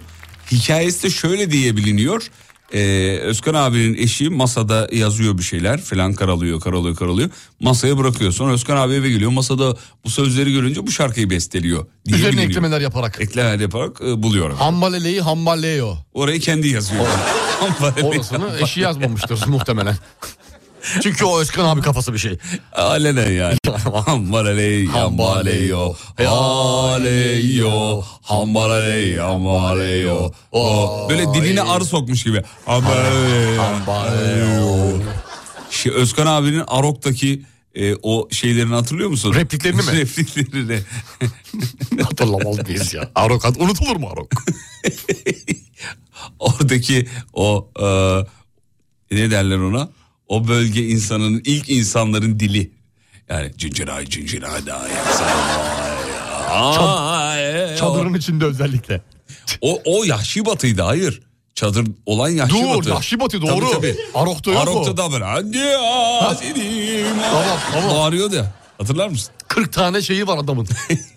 [SPEAKER 2] Hikayesi de şöyle diye biliniyor. Ee, Özkan abinin eşi masada yazıyor bir şeyler falan karalıyor karalıyor karalıyor. Masaya bırakıyor sonra Özkan abi eve geliyor masada bu sözleri görünce bu şarkıyı besteliyor. Diye
[SPEAKER 4] Üzerine
[SPEAKER 2] biliniyor.
[SPEAKER 4] eklemeler yaparak.
[SPEAKER 2] Eklemeler yaparak e, buluyor.
[SPEAKER 4] Hambaleleyi hambaleyo.
[SPEAKER 2] Orayı kendi yazıyor.
[SPEAKER 4] Orasını eşi yazmamıştır muhtemelen. Çünkü o Özkan abi kafası bir şey.
[SPEAKER 2] Alenen yani. Hambaley, hambaleyo, haleyo, hambaley, hambaleyo. O böyle diline arı sokmuş gibi. Hambaley, hambaleyo. Şey, Özkan abinin Arok'taki e, o şeylerini hatırlıyor musun?
[SPEAKER 4] Repliklerini mi?
[SPEAKER 2] Repliklerini.
[SPEAKER 4] Hatırlamaz mıyız ya? Arok hat- unutulur mu Arok?
[SPEAKER 2] Oradaki o e, ne derler ona? O bölge insanının ilk insanların dili. Yani cinciray cinciray da
[SPEAKER 4] Çadırın içinde özellikle.
[SPEAKER 2] O, o Yahşi Batı'ydı hayır. Çadır olan Yahşi
[SPEAKER 4] Dur,
[SPEAKER 2] Batı.
[SPEAKER 4] Yahşi Batı, doğru. Arok'ta yok
[SPEAKER 2] Arok'ta
[SPEAKER 4] o.
[SPEAKER 2] da böyle. Hadi ya senin.
[SPEAKER 4] Tamam, tamam.
[SPEAKER 2] Bağırıyordu ya. Hatırlar mısın?
[SPEAKER 4] 40 tane şeyi var adamın.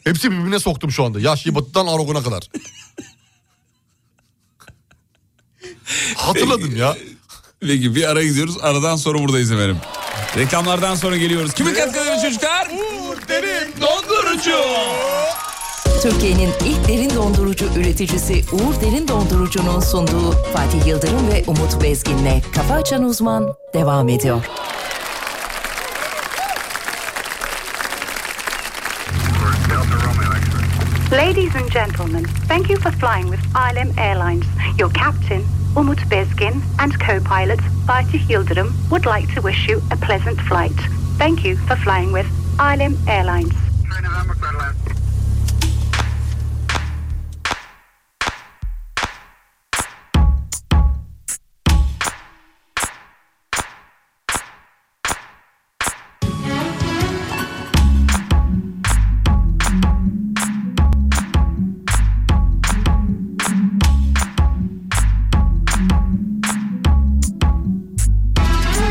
[SPEAKER 4] Hepsi birbirine soktum şu anda. Yaşlı batıdan Arog'una kadar. Hatırladım ya.
[SPEAKER 2] Peki bir ara gidiyoruz. Aradan sonra buradayız efendim. Reklamlardan sonra geliyoruz. Kimin katkıları çocuklar? Dondurucu.
[SPEAKER 6] Türkiye'nin ilk derin dondurucu üreticisi Uğur Derin Dondurucu'nun sunduğu Fatih Yıldırım ve Umut Bezgin'le Kafa Açan Uzman devam ediyor.
[SPEAKER 13] Ladies and gentlemen, thank you for flying with ILM Airlines. Your captain, Umut Bezgin, and co-pilot Fatih Yıldırım would like to wish you a pleasant flight. Thank you for flying with ILM Airlines.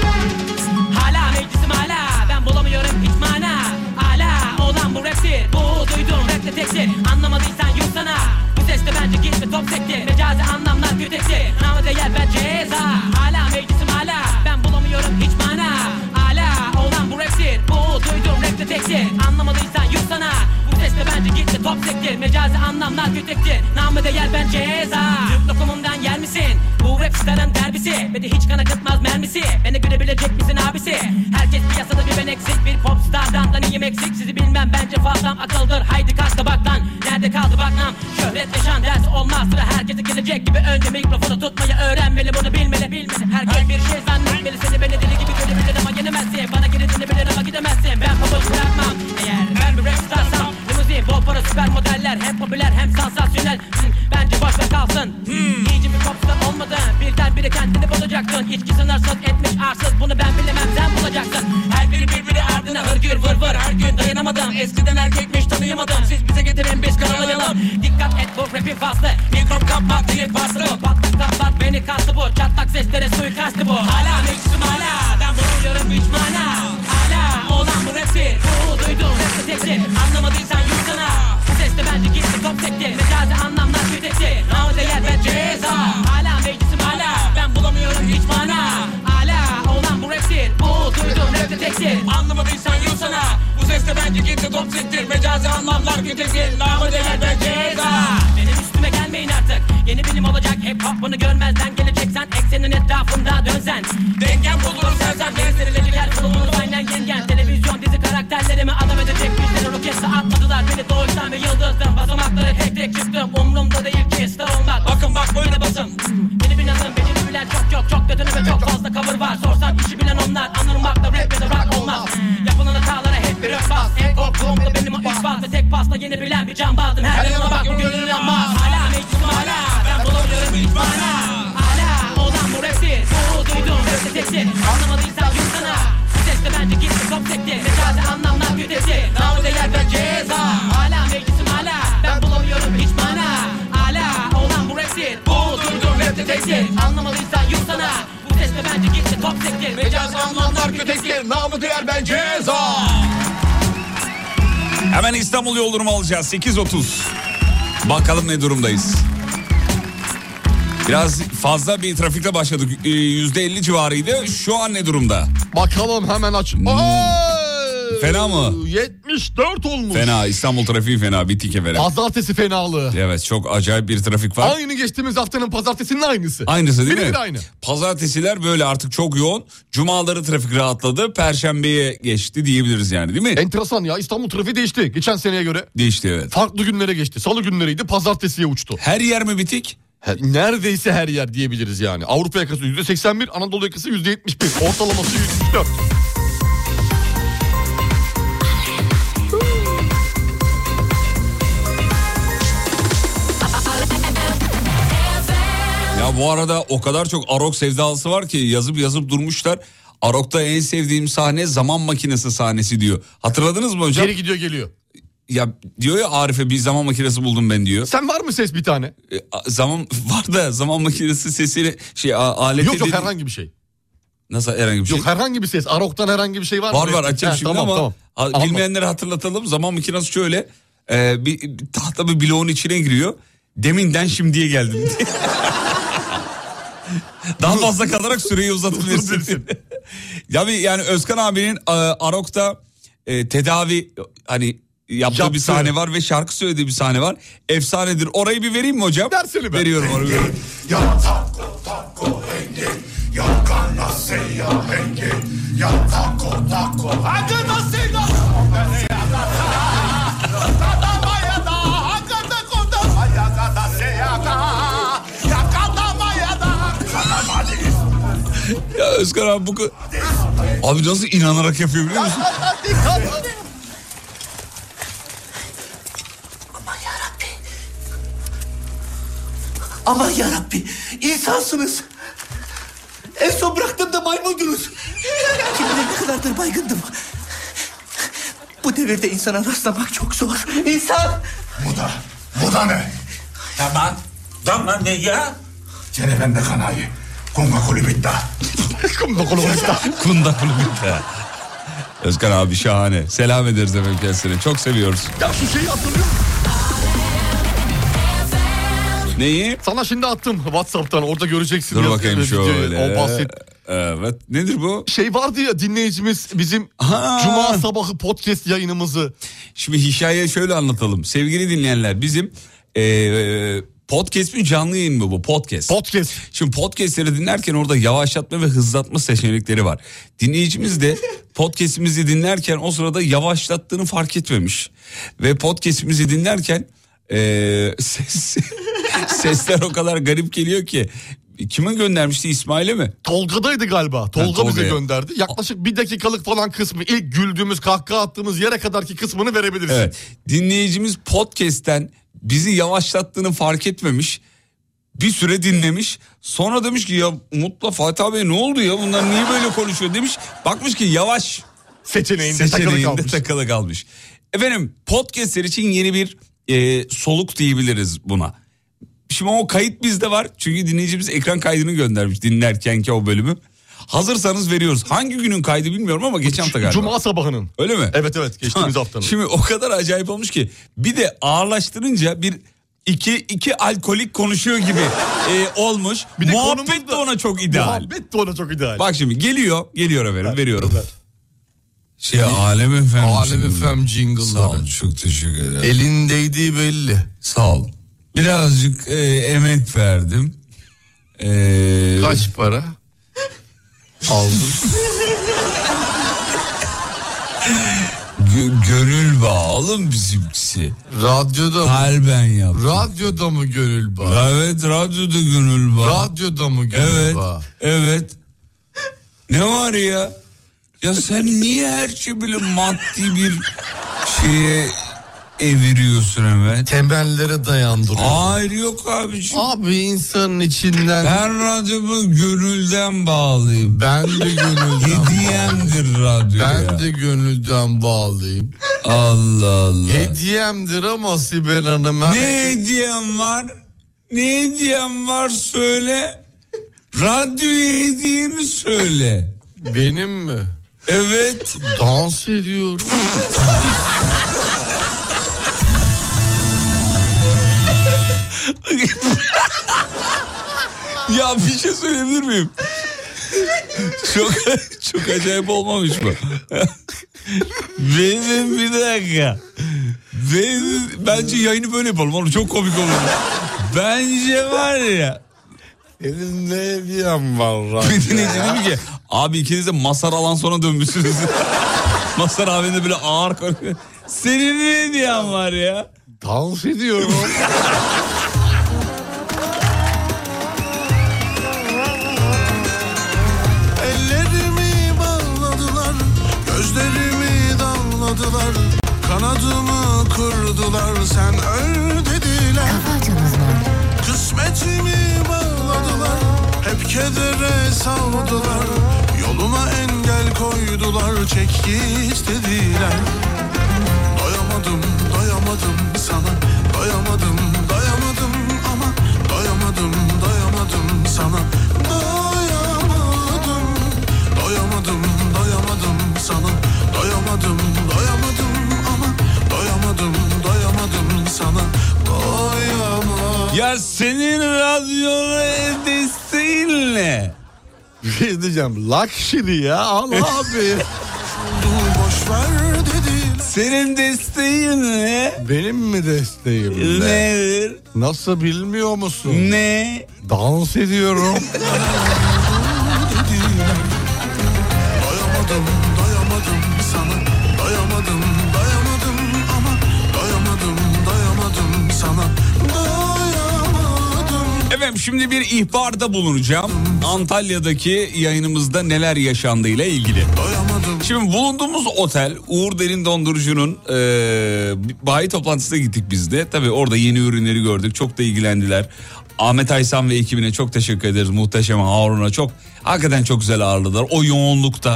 [SPEAKER 3] Hala meclisim hala Ben bulamıyorum hiç mana Hala olan bu raptir Bu duyduğum rap de tektir Anlamadıysan yok sana Bu ses de bence gitme top sektir Mecazi anlamlar kötektir Namı değer bence ceza Hala meclisim hala Ben bulamıyorum hiç mana tektir Anlamadıysan yut sana Bu sesle bence git de top sektir Mecazi anlamlar kötektir Namı değer bence ceza Türk lokumundan yer misin? Bu rap starın derbisi Beni hiç kan akıtmaz mermisi Beni görebilecek misin abisi? Herkes piyasada bir ben eksik Bir popstardan da neyim eksik Sizi bilmem bence fazlam akıldır Haydi kalk da bak lan Nerede kaldı bak lan Şöhret yaşan ders olmaz Sıra herkese gelecek gibi Önce mikrofonu tutmayı öğrenmeli Bunu bilmeli bilmeli Herkes bir şey zannetmeli Seni beni deli gibi görebilir ama yenemezsin Bana gerisini bilir ama gidemezsin Ben pabuç bırakmam Eğer ben bir rap starsam Limuzin, bol para, süper modeller Hem popüler hem sansasyonel Hmm, Bence boş ver kalsın hmm. İyice bir popstar olmadın Birden biri kendini bulacaksın İçki sınırsız etmiş arsız Bunu ben bilemem sen bulacaksın Her biri birbiri ardına hırgür vır vır Her gün dayanamadım Eskiden erkekmiş tanıyamadım Siz bize getirin biz kanalayalım Dikkat et bu rapin faslı Mikrop kapmak diye faslı Patlak tatlat beni kastı bu Çatlak seslere suikastı bu Hala mixim hala Ben buluyorum hiç mana Hala olan bu rapi Bu duydun rapte teksin Anlamadıysan yutsana Bu sesle bence gitti top sekti Mecazi anlamlar kötekti Namı değer ve ceza Hala meclisim hala Ben bulamıyorum hiç mana Hala olan bu raptir Bu duydun rapte teksin Anlamadıysan yutsana Bu sesle bence gitti top sektir Mecazi anlamlar kötekti Namı değer ve ceza Benim üstüme gelmeyin artık Yeni bilim olacak hep hop bunu görmezden geleceksen Eksenin etrafında dönsen Dengen bulur sensen Benzerilecekler bulunur aynen yengen Televizyon dizi karakterlerimi adam edecek Bizleri roketse atmadılar beni doğuştan bir yıldızdım Basamakları tek tek çıktım Umrumda değil ki star olmak Bakın bak böyle basın Beni bilanın beni bilen çok çok çok kötü ve çok fazla cover var Sorsan işi bilen onlar Anırmakla rap ya da rock olmaz Yapılan hatalara hep bir öf bas En korktuğumda benim o üç bas Ve tek pasla yeni bilen bir can bazdım Her yanına bak bu gönül inanmaz Hala meclisim hala Ben bulamıyorum hiç mana Hala olan bu rapti Bu duydum rapte teksin Anlamadıysan yut sana Bu sesle bence gitti top sekti Mecazi anlamlar güdesi Namı değer ve ceza Hala meclisim hala Ben bulamıyorum hiç mana Hala olan bu rapti Bu duydum rapte teksin Anlamadıysan yut sana Bu sesle bence gitti top sekti Mecazi anlamlar güdesi
[SPEAKER 4] Namı değer ben ceza.
[SPEAKER 2] Hemen İstanbul yol durumu alacağız 8.30. Bakalım ne durumdayız. Biraz fazla bir trafikle başladık. Ee, %50 civarıydı. Şu an ne durumda?
[SPEAKER 4] Bakalım hemen aç.
[SPEAKER 2] Hmm.
[SPEAKER 4] Ay!
[SPEAKER 2] Fena mı?
[SPEAKER 4] 74 olmuş.
[SPEAKER 2] Fena. İstanbul trafiği fena. Bittik'e fena.
[SPEAKER 4] Pazartesi fenalığı.
[SPEAKER 2] Evet çok acayip bir trafik var.
[SPEAKER 4] Aynı geçtiğimiz haftanın pazartesinin aynısı.
[SPEAKER 2] Aynısı değil
[SPEAKER 4] Birebir
[SPEAKER 2] mi?
[SPEAKER 4] aynı.
[SPEAKER 2] Pazartesiler böyle artık çok yoğun. Cumaları trafik rahatladı. Perşembeye geçti diyebiliriz yani değil mi?
[SPEAKER 4] Enteresan ya İstanbul trafiği değişti geçen seneye göre.
[SPEAKER 2] Değişti evet.
[SPEAKER 4] Farklı günlere geçti. Salı günleriydi pazartesiye uçtu.
[SPEAKER 2] Her yer mi bitik?
[SPEAKER 4] Her- neredeyse her yer diyebiliriz yani. Avrupa yakası %81, Anadolu yakası %71, ortalaması %74.
[SPEAKER 2] Ya bu arada o kadar çok Arok sevdalısı var ki yazıp yazıp durmuşlar. Arok'ta en sevdiğim sahne zaman makinesi sahnesi diyor. Hatırladınız mı hocam?
[SPEAKER 4] Geri gidiyor geliyor.
[SPEAKER 2] Ya diyor ya Arif'e bir zaman makinesi buldum ben diyor.
[SPEAKER 4] Sen var mı ses bir tane?
[SPEAKER 2] E, a- zaman var da zaman makinesi sesiyle şey a, aleti
[SPEAKER 4] Yok yok
[SPEAKER 2] dedi-
[SPEAKER 4] herhangi bir şey.
[SPEAKER 2] Nasıl herhangi bir şey?
[SPEAKER 4] Yok herhangi bir ses. Arok'tan herhangi bir şey var mı?
[SPEAKER 2] Var var açacağım
[SPEAKER 4] Ha,
[SPEAKER 2] şimdi
[SPEAKER 4] tamam,
[SPEAKER 2] ama
[SPEAKER 4] Tamam.
[SPEAKER 2] a-
[SPEAKER 4] Anladım.
[SPEAKER 2] bilmeyenlere hatırlatalım. Zaman makinesi şöyle e, bir, bir tahta bir bloğun içine giriyor. Deminden şimdiye geldim diye. Daha fazla kalarak süreyi uzatabilirsin. ya bir yani Özkan abinin e, Arok'ta e, tedavi hani yaptığı
[SPEAKER 4] Yaptı.
[SPEAKER 2] bir sahne var ve şarkı söylediği bir sahne var. Efsanedir. Orayı bir vereyim mi hocam?
[SPEAKER 4] Versene be.
[SPEAKER 2] Veriyorum onu. veriyorum.
[SPEAKER 10] Ya taco taco henge Ya canasea henge Ya taco taco Hakkı nasıl da
[SPEAKER 2] Ya Özkan abi bu ka- Abi nasıl inanarak yapıyor biliyor musun?
[SPEAKER 10] Aman yarabbi insansınız. En son bıraktığımda maymundunuz. Kim bilir ne kadardır baygındım. Bu devirde insana rastlamak çok zor. İnsan... Bu da, bu da ne?
[SPEAKER 14] Tamam. Dam lan ne ya?
[SPEAKER 10] Gene bende kanayı. Konga kulübitta.
[SPEAKER 4] Kumda kolu başta.
[SPEAKER 2] Kunda kulübünde. Özkan abi şahane. Selam ederiz efendim kendisine. Çok seviyoruz.
[SPEAKER 4] Ya şu şeyi hatırlıyor musun?
[SPEAKER 2] Neyi?
[SPEAKER 4] Sana şimdi attım Whatsapp'tan orada göreceksin.
[SPEAKER 2] Dur
[SPEAKER 4] yaz-
[SPEAKER 2] bakayım
[SPEAKER 4] videoyu.
[SPEAKER 2] şöyle. Ee,
[SPEAKER 4] O bahset.
[SPEAKER 2] Evet. Nedir bu?
[SPEAKER 4] Şey vardı ya dinleyicimiz bizim Cuma sabahı podcast yayınımızı.
[SPEAKER 2] Şimdi hikayeyi şöyle anlatalım. Sevgili dinleyenler bizim eee, podcast mi canlı yayın mı bu podcast?
[SPEAKER 4] Podcast.
[SPEAKER 2] Şimdi podcastleri dinlerken orada yavaşlatma ve hızlatma seçenekleri var. Dinleyicimiz de podcastimizi dinlerken o sırada yavaşlattığını fark etmemiş. Ve podcastimizi dinlerken eee, ses, sesler o kadar garip geliyor ki. Kime göndermişti İsmail'e mi?
[SPEAKER 4] Tolga'daydı galiba. Tolga bize
[SPEAKER 2] Tolga'ya.
[SPEAKER 4] gönderdi. Yaklaşık bir dakikalık falan kısmı ilk güldüğümüz kahkaha attığımız yere kadarki kısmını verebilirsin.
[SPEAKER 2] Evet. Dinleyicimiz podcast'ten bizi yavaşlattığını fark etmemiş. Bir süre dinlemiş. Sonra demiş ki ya Mutlu Fatih abi ne oldu ya bunlar niye böyle konuşuyor demiş. Bakmış ki yavaş
[SPEAKER 4] seçeneğinde, takılı kalmış.
[SPEAKER 2] takılı kalmış. Efendim podcastler için yeni bir e, soluk diyebiliriz buna. Şimdi o kayıt bizde var. Çünkü dinleyicimiz ekran kaydını göndermiş dinlerken ki o bölümü. Hazırsanız veriyoruz. Hangi günün kaydı bilmiyorum ama geçen hafta galiba.
[SPEAKER 4] Cuma sabahının.
[SPEAKER 2] Öyle mi?
[SPEAKER 4] Evet evet geçtiğimiz
[SPEAKER 2] Ha,
[SPEAKER 4] haftanın.
[SPEAKER 2] Şimdi o kadar acayip olmuş ki bir de ağırlaştırınca bir iki iki alkolik konuşuyor gibi e, olmuş.
[SPEAKER 4] Bir de
[SPEAKER 2] Muhabbet de ona çok ideal.
[SPEAKER 4] Muhabbet de ona çok ideal.
[SPEAKER 2] Bak şimdi geliyor, geliyor efendim, veriyorum. Şey Alem FM.
[SPEAKER 15] Alem FM jingle'ları. Sağ olun
[SPEAKER 2] çok teşekkür ederim.
[SPEAKER 15] Elin değdiği belli.
[SPEAKER 2] Sağ ol. Birazcık e, emek verdim. E,
[SPEAKER 15] Kaç para? Aldım.
[SPEAKER 2] gönül bağı oğlum bizimkisi.
[SPEAKER 15] Radyoda mı?
[SPEAKER 2] Kalben yaptım.
[SPEAKER 15] Radyoda mı gönül bağı?
[SPEAKER 2] Evet radyoda gönül bağı.
[SPEAKER 15] Radyoda mı gönül
[SPEAKER 2] Evet.
[SPEAKER 15] bağı?
[SPEAKER 2] Evet. Ne var ya? Ya sen niye her şeyi böyle maddi bir şeye eviriyorsun hemen?
[SPEAKER 15] Temellere dayandırıyor.
[SPEAKER 2] Hayır yok abiciğim.
[SPEAKER 15] Abi insanın içinden...
[SPEAKER 2] Ben radyomu gönülden bağlıyım.
[SPEAKER 15] Ben de gönülden
[SPEAKER 2] Hediyemdir radyo
[SPEAKER 15] Ben
[SPEAKER 2] ya.
[SPEAKER 15] de gönülden bağlıyım.
[SPEAKER 2] Allah Allah.
[SPEAKER 15] Hediyemdir ama Sibel Hanım.
[SPEAKER 2] Ne hediyem var? Ne hediyem var söyle. Radyoya hediyemi söyle.
[SPEAKER 15] Benim mi?
[SPEAKER 2] Evet.
[SPEAKER 15] Dans ediyorum.
[SPEAKER 2] ya bir şey söyleyebilir miyim? çok çok acayip olmamış mı? Benim bir dakika. Benim, bence yayını böyle yapalım oğlum çok komik olur. Bence var ya.
[SPEAKER 15] Benim ne hediyem var
[SPEAKER 2] Bir dinleyici dedi ki abi ikiniz de Masar alan sonra dönmüşsünüz. Masar abinin de böyle ağır konuşuyor. Senin ne hediyen var ya?
[SPEAKER 15] Dans ediyorum.
[SPEAKER 12] Ellerimi bağladılar, gözlerimi damladılar, kanadımı kırdılar, sen öl dediler. Kısmetimi bağladılar, hep kedere savdular, yoluma engel koydular, çek git dediler. Doyamadım, doyamadım sana, doyamadım, doyamadım ama doyamadım, doyamadım sana, doyamadım. Doyamadım, doyamadım sana Doyamadım, doyamadım ama Doyamadım, doyamadım sana Doyamadım
[SPEAKER 2] Ya senin radyonun hediyesi ne?
[SPEAKER 4] Bir şey diyeceğim. Luxury ya. Al abi.
[SPEAKER 12] Boşver dedi
[SPEAKER 2] Senin desteğin ne?
[SPEAKER 4] Benim mi desteğim? ne?
[SPEAKER 2] Nedir?
[SPEAKER 4] Nasıl bilmiyor musun?
[SPEAKER 2] Ne?
[SPEAKER 4] Dans ediyorum.
[SPEAKER 12] Doyamadım, doyamadım sana Doyamadım, doyamadım ama Doyamadım, doyamadım sana Doyamadım
[SPEAKER 2] Efendim şimdi bir ihbarda bulunacağım. Antalya'daki yayınımızda neler yaşandığı ile ilgili. Şimdi bulunduğumuz otel Uğur Derin Dondurucu'nun e, bir bayi toplantısına gittik biz de. Tabii orada yeni ürünleri gördük. Çok da ilgilendiler. Ahmet Aysan ve ekibine çok teşekkür ederiz. Muhteşem Harun'a çok hakikaten çok güzel ağırladılar. O yoğunlukta.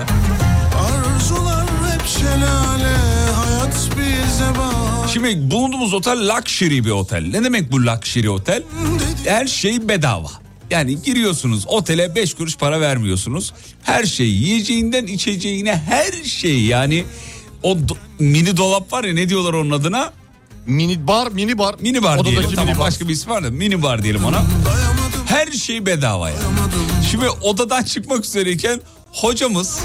[SPEAKER 12] Arzular hep şelale Hayat bize bağlı
[SPEAKER 2] Şimdi bulunduğumuz otel luxury bir otel. Ne demek bu luxury otel? Her şey bedava. Yani giriyorsunuz otele 5 kuruş para vermiyorsunuz. Her şey yiyeceğinden içeceğine her şey yani o do- mini dolap var ya ne diyorlar onun adına?
[SPEAKER 4] mini bar, mini bar.
[SPEAKER 2] Mini bar
[SPEAKER 4] Odadaki
[SPEAKER 2] diyelim. Tamam
[SPEAKER 4] mini bar.
[SPEAKER 2] başka bir ismi var da mini bar diyelim ona. Her her şey bedava yani. Şimdi odadan çıkmak üzereyken hocamız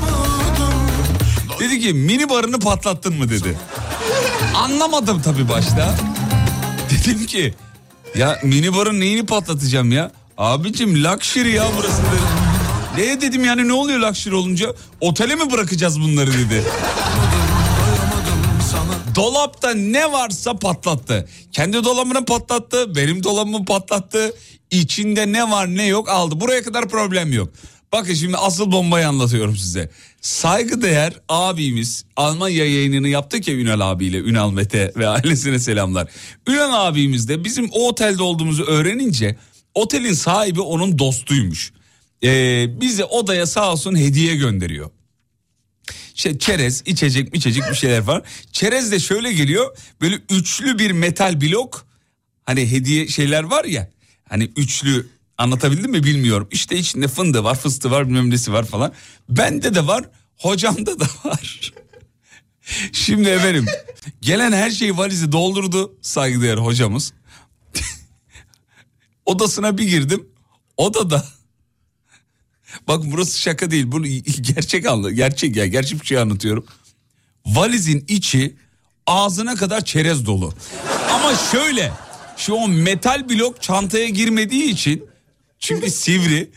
[SPEAKER 2] dedi ki mini barını patlattın mı dedi. Anlamadım tabii başta. Dedim ki ya mini barın neyini patlatacağım ya? Abicim luxury ya burası dedim. Ne dedim yani ne oluyor luxury olunca? Otele mi bırakacağız bunları dedi. Dolapta ne varsa patlattı. Kendi dolabını patlattı, benim dolabımı patlattı. İçinde ne var ne yok aldı. Buraya kadar problem yok. Bakın şimdi asıl bombayı anlatıyorum size. Saygıdeğer abimiz Almanya yayınını yaptık ya Ünal abiyle, Ünal Mete ve ailesine selamlar. Ünal abimiz de bizim o otelde olduğumuzu öğrenince otelin sahibi onun dostuymuş. Ee, bize odaya sağ olsun hediye gönderiyor şey çerez, içecek, içecek bir şeyler var. Çerez de şöyle geliyor. Böyle üçlü bir metal blok. Hani hediye şeyler var ya. Hani üçlü anlatabildim mi bilmiyorum. İşte içinde fındığı var, fıstığı var, bilmem nesi var falan. Bende de var, hocamda da var. Şimdi efendim gelen her şeyi valize doldurdu saygıdeğer hocamız. Odasına bir girdim. Odada Bak burası şaka değil. Bunu gerçek anla. Gerçek ya. Gerçek bir şey anlatıyorum. Valizin içi ağzına kadar çerez dolu. Ama şöyle. Şu o metal blok çantaya girmediği için çünkü sivri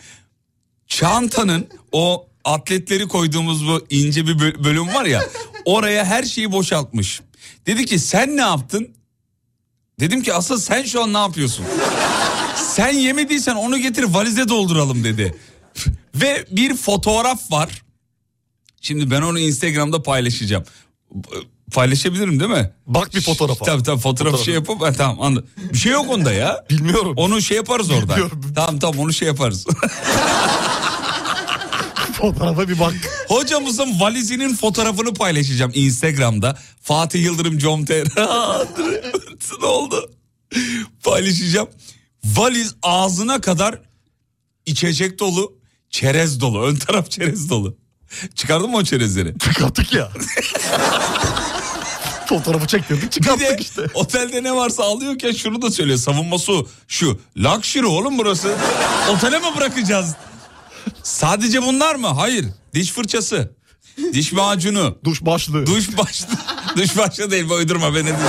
[SPEAKER 2] çantanın o atletleri koyduğumuz bu ince bir bö- bölüm var ya oraya her şeyi boşaltmış. Dedi ki sen ne yaptın? Dedim ki asıl sen şu an ne yapıyorsun? sen yemediysen onu getir valize dolduralım dedi. Ve bir fotoğraf var. Şimdi ben onu Instagram'da paylaşacağım. Ee, Paylaşabilirim değil mi? Bak bir fotoğrafa. Tabii tabii fotoğraf şey yapıp ha, tamam anladım. Bir şey yok onda ya. Bilmiyorum. Onu şey yaparız orada. Tamam tamam onu şey yaparız. Fotoğrafa bir bak. Hocamızın valizinin fotoğrafını paylaşacağım Instagram'da. Fatih Yıldırım Comter. ne oldu? Paylaşacağım. Valiz ağzına kadar içecek dolu, çerez dolu. Ön taraf çerez dolu. Çıkardın mı o çerezleri? Çıkarttık ya. Fotoğrafı çektirdik çıkarttık işte. Otelde ne varsa alıyorken şunu da söylüyor. Savunması şu. Luxury oğlum burası. Otele mi bırakacağız? Sadece bunlar mı? Hayır. Diş fırçası. Diş macunu. Duş başlığı. Duş başlığı. Duş başlığı değil bu uydurma ben de dedim.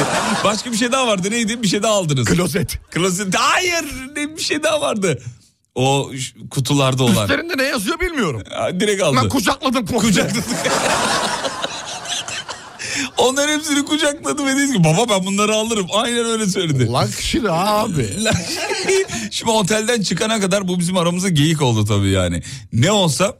[SPEAKER 2] Başka bir şey daha vardı neydi? Bir şey daha aldınız. Klozet. Klozet. Hayır ne bir şey daha vardı. O ş- kutularda olan.
[SPEAKER 4] Üstlerinde ne yazıyor bilmiyorum.
[SPEAKER 2] Ha, Direkt aldı.
[SPEAKER 4] Ben kucakladım komple.
[SPEAKER 2] Kucakladık. Onların hepsini kucakladı ve dedi ki baba ben bunları alırım. Aynen öyle söyledi. Lakşiri abi. Şimdi otelden çıkana kadar bu bizim aramızda geyik oldu tabii yani. Ne olsa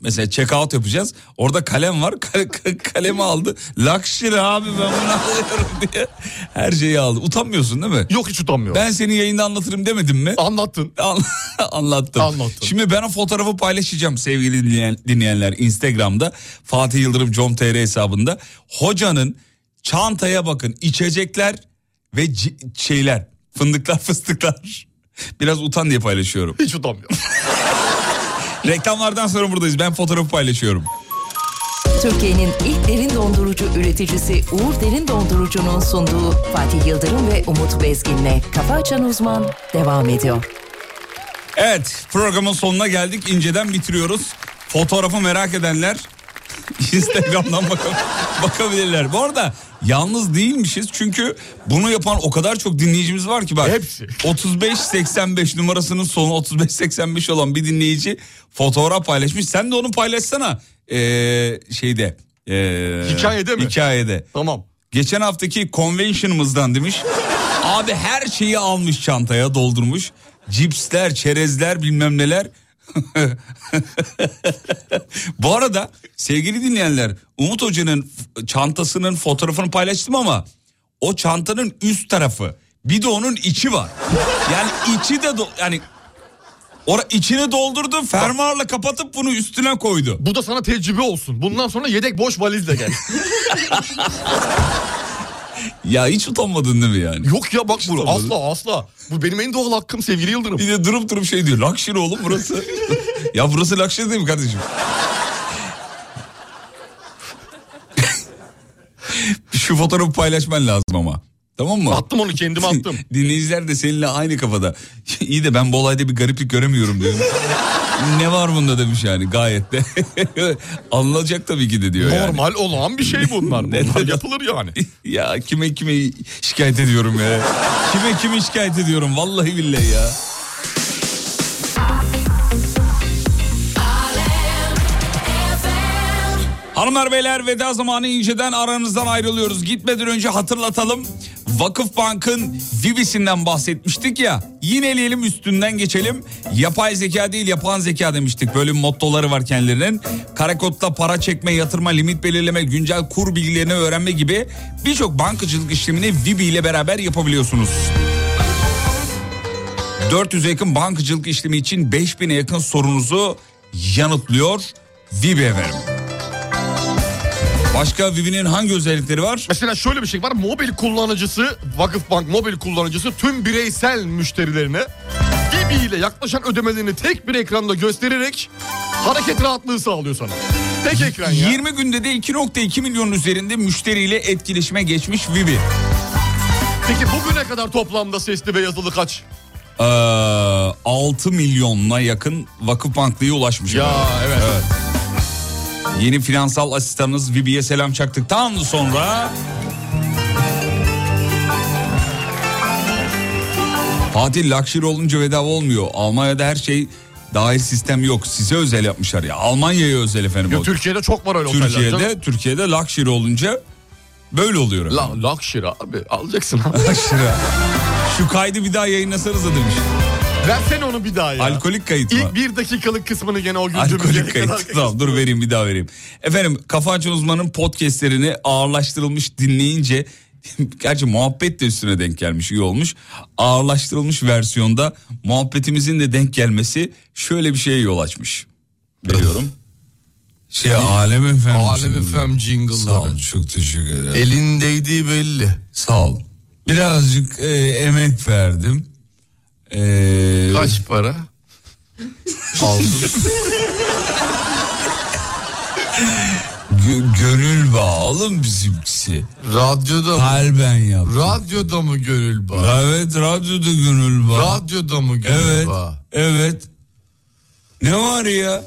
[SPEAKER 2] mesela check out yapacağız. Orada kalem var. Kale- ka- kalemi aldı. Lakşiri abi ben bunu alıyorum diye. Her şeyi aldı. Utanmıyorsun değil mi? Yok hiç utanmıyorum. Ben seni yayında anlatırım demedim mi? Anlattın. Anlattım. Anlattım. Şimdi ben o fotoğrafı paylaşacağım sevgili dinleyen- dinleyenler Instagram'da. Fatih Yıldırım com.tr hesabında. Hocanın çantaya bakın içecekler ve c- şeyler. Fındıklar fıstıklar. Biraz utan diye paylaşıyorum. Hiç utanmıyorum. Reklamlardan sonra buradayız. Ben fotoğrafı paylaşıyorum.
[SPEAKER 6] Türkiye'nin ilk derin dondurucu üreticisi Uğur Derin Dondurucu'nun sunduğu Fatih Yıldırım ve Umut Bezgin'le Kafa Açan Uzman devam ediyor.
[SPEAKER 2] Evet programın sonuna geldik. İnceden bitiriyoruz. Fotoğrafı merak edenler Instagram'dan baka- bakabilirler. Bu arada yalnız değilmişiz çünkü bunu yapan o kadar çok dinleyicimiz var ki bak. Hepsi. 3585 numarasının sonu 3585 olan bir dinleyici fotoğraf paylaşmış. Sen de onu paylaşsana ee, şeyde. ee,
[SPEAKER 4] Hikayede mi?
[SPEAKER 2] Hikayede. Tamam. Geçen haftaki convention'ımızdan demiş. Abi her şeyi almış çantaya doldurmuş. Cipsler, çerezler bilmem neler. Bu arada sevgili dinleyenler Umut Hoca'nın f- çantasının fotoğrafını paylaştım ama o çantanın üst tarafı bir de onun içi var. Yani içi de do- yani ora içini doldurdu fermuarla kapatıp bunu üstüne koydu.
[SPEAKER 4] Bu da sana tecrübe olsun. Bundan sonra yedek boş valizle gel.
[SPEAKER 2] Ya hiç utanmadın değil mi yani?
[SPEAKER 4] Yok ya bak bunu asla asla. Bu benim en doğal hakkım sevgili Yıldırım.
[SPEAKER 2] Bir de durup durup şey diyor. Lakşiri oğlum burası. ya burası lakşiri değil mi kardeşim? Şu fotoğrafı paylaşman lazım ama. Tamam mı? Attım onu kendime attım. Dinleyiciler de seninle aynı kafada. İyi de ben bu olayda bir gariplik göremiyorum diyorum. ne var bunda demiş yani gayet de. Anılacak tabii ki de diyor
[SPEAKER 16] Normal
[SPEAKER 2] yani. olan bir şey bunlar. Bunlar yapılır yani. ya kime kime şikayet ediyorum ya. kime kime şikayet ediyorum vallahi billahi ya. Hanımlar beyler veda zamanı inceden aranızdan ayrılıyoruz. Gitmeden önce hatırlatalım. Vakıfbank'ın Vibisinden bahsetmiştik ya. Yineleyelim üstünden geçelim. Yapay zeka değil yapan zeka demiştik. Böyle mottoları var kendilerinin. Karakotla para çekme, yatırma, limit belirleme, güncel kur bilgilerini öğrenme gibi birçok bankacılık işlemini Vibi ile beraber yapabiliyorsunuz. 400'e yakın bankacılık işlemi için 5000'e yakın sorunuzu yanıtlıyor Vibi efendim. Başka Vivi'nin hangi özellikleri var?
[SPEAKER 16] Mesela şöyle bir şey var. Mobil kullanıcısı, Vakıfbank mobil kullanıcısı tüm bireysel müşterilerine Gibi ile yaklaşan ödemelerini tek bir ekranda göstererek hareket rahatlığı sağlıyor sana. Tek ekran ya.
[SPEAKER 2] 20 günde de 2.2 milyon üzerinde müşteriyle etkileşime geçmiş Vivi.
[SPEAKER 16] Peki bugüne kadar toplamda sesli ve yazılı kaç?
[SPEAKER 2] Ee, 6 milyonla yakın vakıf banklıya ulaşmış.
[SPEAKER 16] Ya, evet.
[SPEAKER 2] Yeni finansal asistanınız Vibi'ye selam çaktıktan sonra... Fatih lakşir olunca bedava olmuyor. Almanya'da her şey dair sistem yok. Size özel yapmışlar ya. Almanya'ya özel efendim.
[SPEAKER 16] Ya
[SPEAKER 2] o.
[SPEAKER 16] Türkiye'de çok var öyle oteller
[SPEAKER 2] Türkiye'de,
[SPEAKER 16] canım.
[SPEAKER 2] Türkiye'de lakşir olunca böyle oluyor. La, lakşir abi alacaksın abi. Şu kaydı bir daha yayınlasanız da demiş.
[SPEAKER 16] Versene onu bir daha ya.
[SPEAKER 2] Alkolik kayıt mı?
[SPEAKER 16] İlk bir dakikalık kısmını gene o güldüğümüz yere
[SPEAKER 2] Alkolik
[SPEAKER 16] kadar-
[SPEAKER 2] kayıt. Tamam dur vereyim bir daha vereyim. Efendim Kafa Açan Uzman'ın podcastlerini ağırlaştırılmış dinleyince Gerçi muhabbet de üstüne denk gelmiş iyi olmuş. Ağırlaştırılmış versiyonda muhabbetimizin de denk gelmesi şöyle bir şeye yol açmış. Veriyorum.
[SPEAKER 4] Şey Alem efem. Alem efem
[SPEAKER 2] Sağ olun,
[SPEAKER 4] çok teşekkür ederim. Elin değdiği belli.
[SPEAKER 2] Sağ ol.
[SPEAKER 4] Birazcık e, emek verdim. E, Kaç para? Aldım. Gö- gönül bağlım bizimkisi. Radyoda Kalben yaptım. Radyoda mı gönül bağı? Evet radyoda gönül bağı. Radyoda mı gönül evet, Evet. Ne var ya?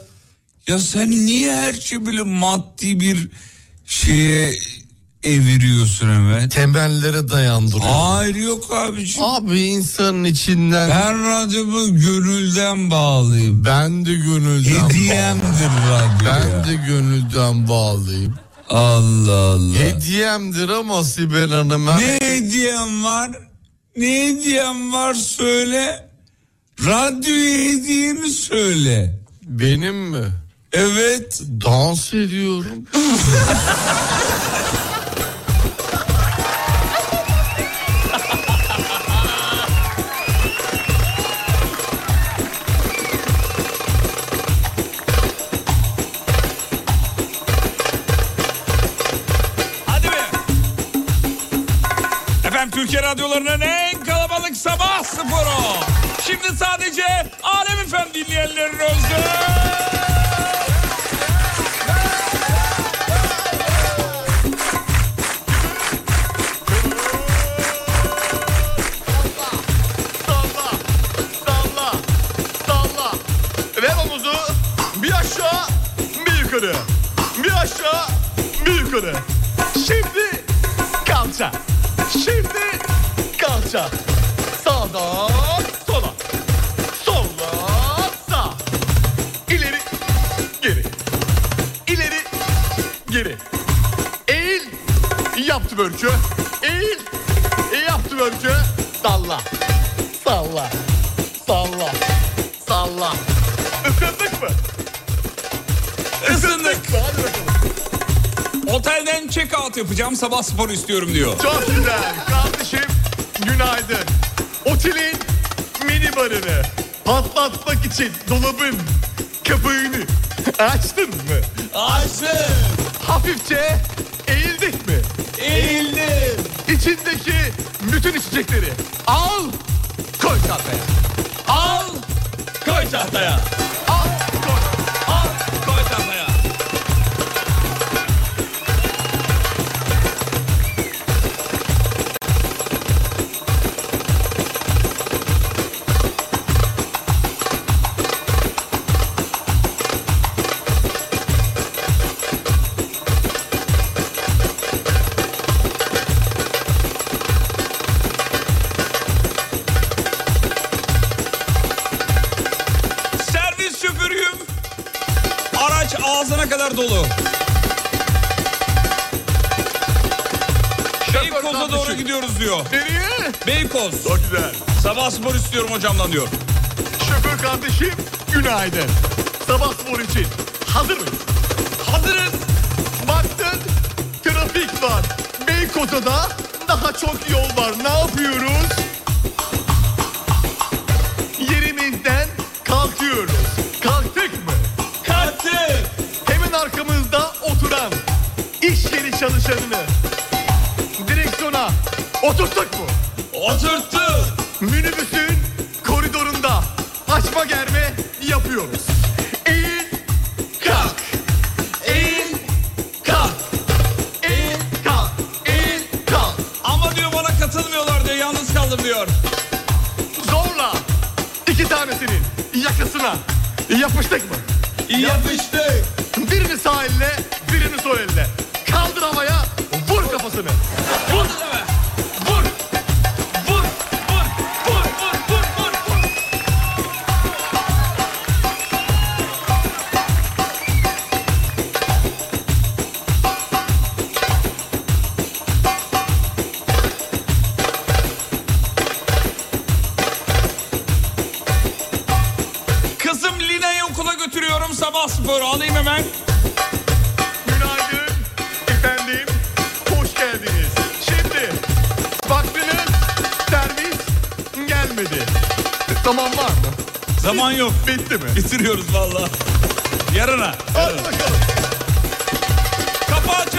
[SPEAKER 4] Ya sen niye her şeyi böyle maddi bir şeye eviriyorsun hemen? Temellere dayandırıyorsun. Hayır yok abiciğim. Abi insanın içinden. Ben radyomu gönülden bağlıyım. Ben de gönülden Hediyemdir radyo Ben de gönülden bağlıyım. Allah Allah. Hediyemdir ama Sibel Hanım.
[SPEAKER 17] Ne
[SPEAKER 4] hediyem var? Ne hediyem var söyle. Radyoya hediyemi söyle. Benim mi? Evet. Dans ediyorum.
[SPEAKER 2] Efendim Türkiye radyolarının en kalabalık sabah sporu. Şimdi sadece Alem Efem dinleyenlerin özgü.
[SPEAKER 16] Salla, salla. Ver omuzu bir aşağı, bir yukarı. Bir aşağı, bir yukarı. Şimdi kalça. Şimdi kalça. Sağdan sola. Sola sağ. İleri geri. İleri geri. Eğil. Yaptı börkü. Eğil. Yaptı börkü. Salla. Salla. Salla. Salla. Isındık mı?
[SPEAKER 2] Isındık.
[SPEAKER 16] Hadi bakalım.
[SPEAKER 2] Otelden check out yapacağım sabah sporu istiyorum diyor.
[SPEAKER 16] Çok güzel. Kardeşim günaydın. Otelin mini barını patlatmak için dolabın kapağını açtın mı? Açtım. Hafifçe eğildik mi? Eğildim. İçindeki bütün içecekleri al koy tahtaya. Al koy tahtaya.
[SPEAKER 2] sonuna kadar dolu. Beykoz'a doğru gidiyoruz diyor.
[SPEAKER 16] Nereye?
[SPEAKER 2] Beykoz. Çok
[SPEAKER 16] güzel.
[SPEAKER 2] Sabah spor istiyorum hocamdan diyor.
[SPEAKER 16] Şoför kardeşim günaydın. Sabah spor için hazır mıyız? Hazırız. Baktın trafik var. Beykoz'da da daha çok yol var. Ne yapıyoruz? Yerimizden kalkıyoruz. Kalktık mı? Kalktık. Hemen arkamızda oturan iş yeri çalışanını direksiyona oturttuk mu? Oturttuk. Minibüsün koridorunda açma germe yapıyoruz. Eğil kalk. Eğil kalk. Eğil kalk. Eğil kalk.
[SPEAKER 2] Ama diyor bana katılmıyorlar diyor yalnız kaldım diyor.
[SPEAKER 16] Zorla iki tanesinin yakasına yapıştık mı? Yapıştık. Birini sağ elle, birini sol elle. Kaldır havaya, vur kafasını. Vur. Vur. Vur.
[SPEAKER 2] Kızım Lina'yı okula götürüyorum sabah sporu alayım hemen.
[SPEAKER 16] Günaydın efendim. Hoş geldiniz. Şimdi baktınız servis gelmedi. Zaman var mı?
[SPEAKER 2] Zaman yok.
[SPEAKER 16] Bitti mi?
[SPEAKER 2] Bitiriyoruz valla. Yarına.
[SPEAKER 16] Hadi bakalım.
[SPEAKER 2] Kapağı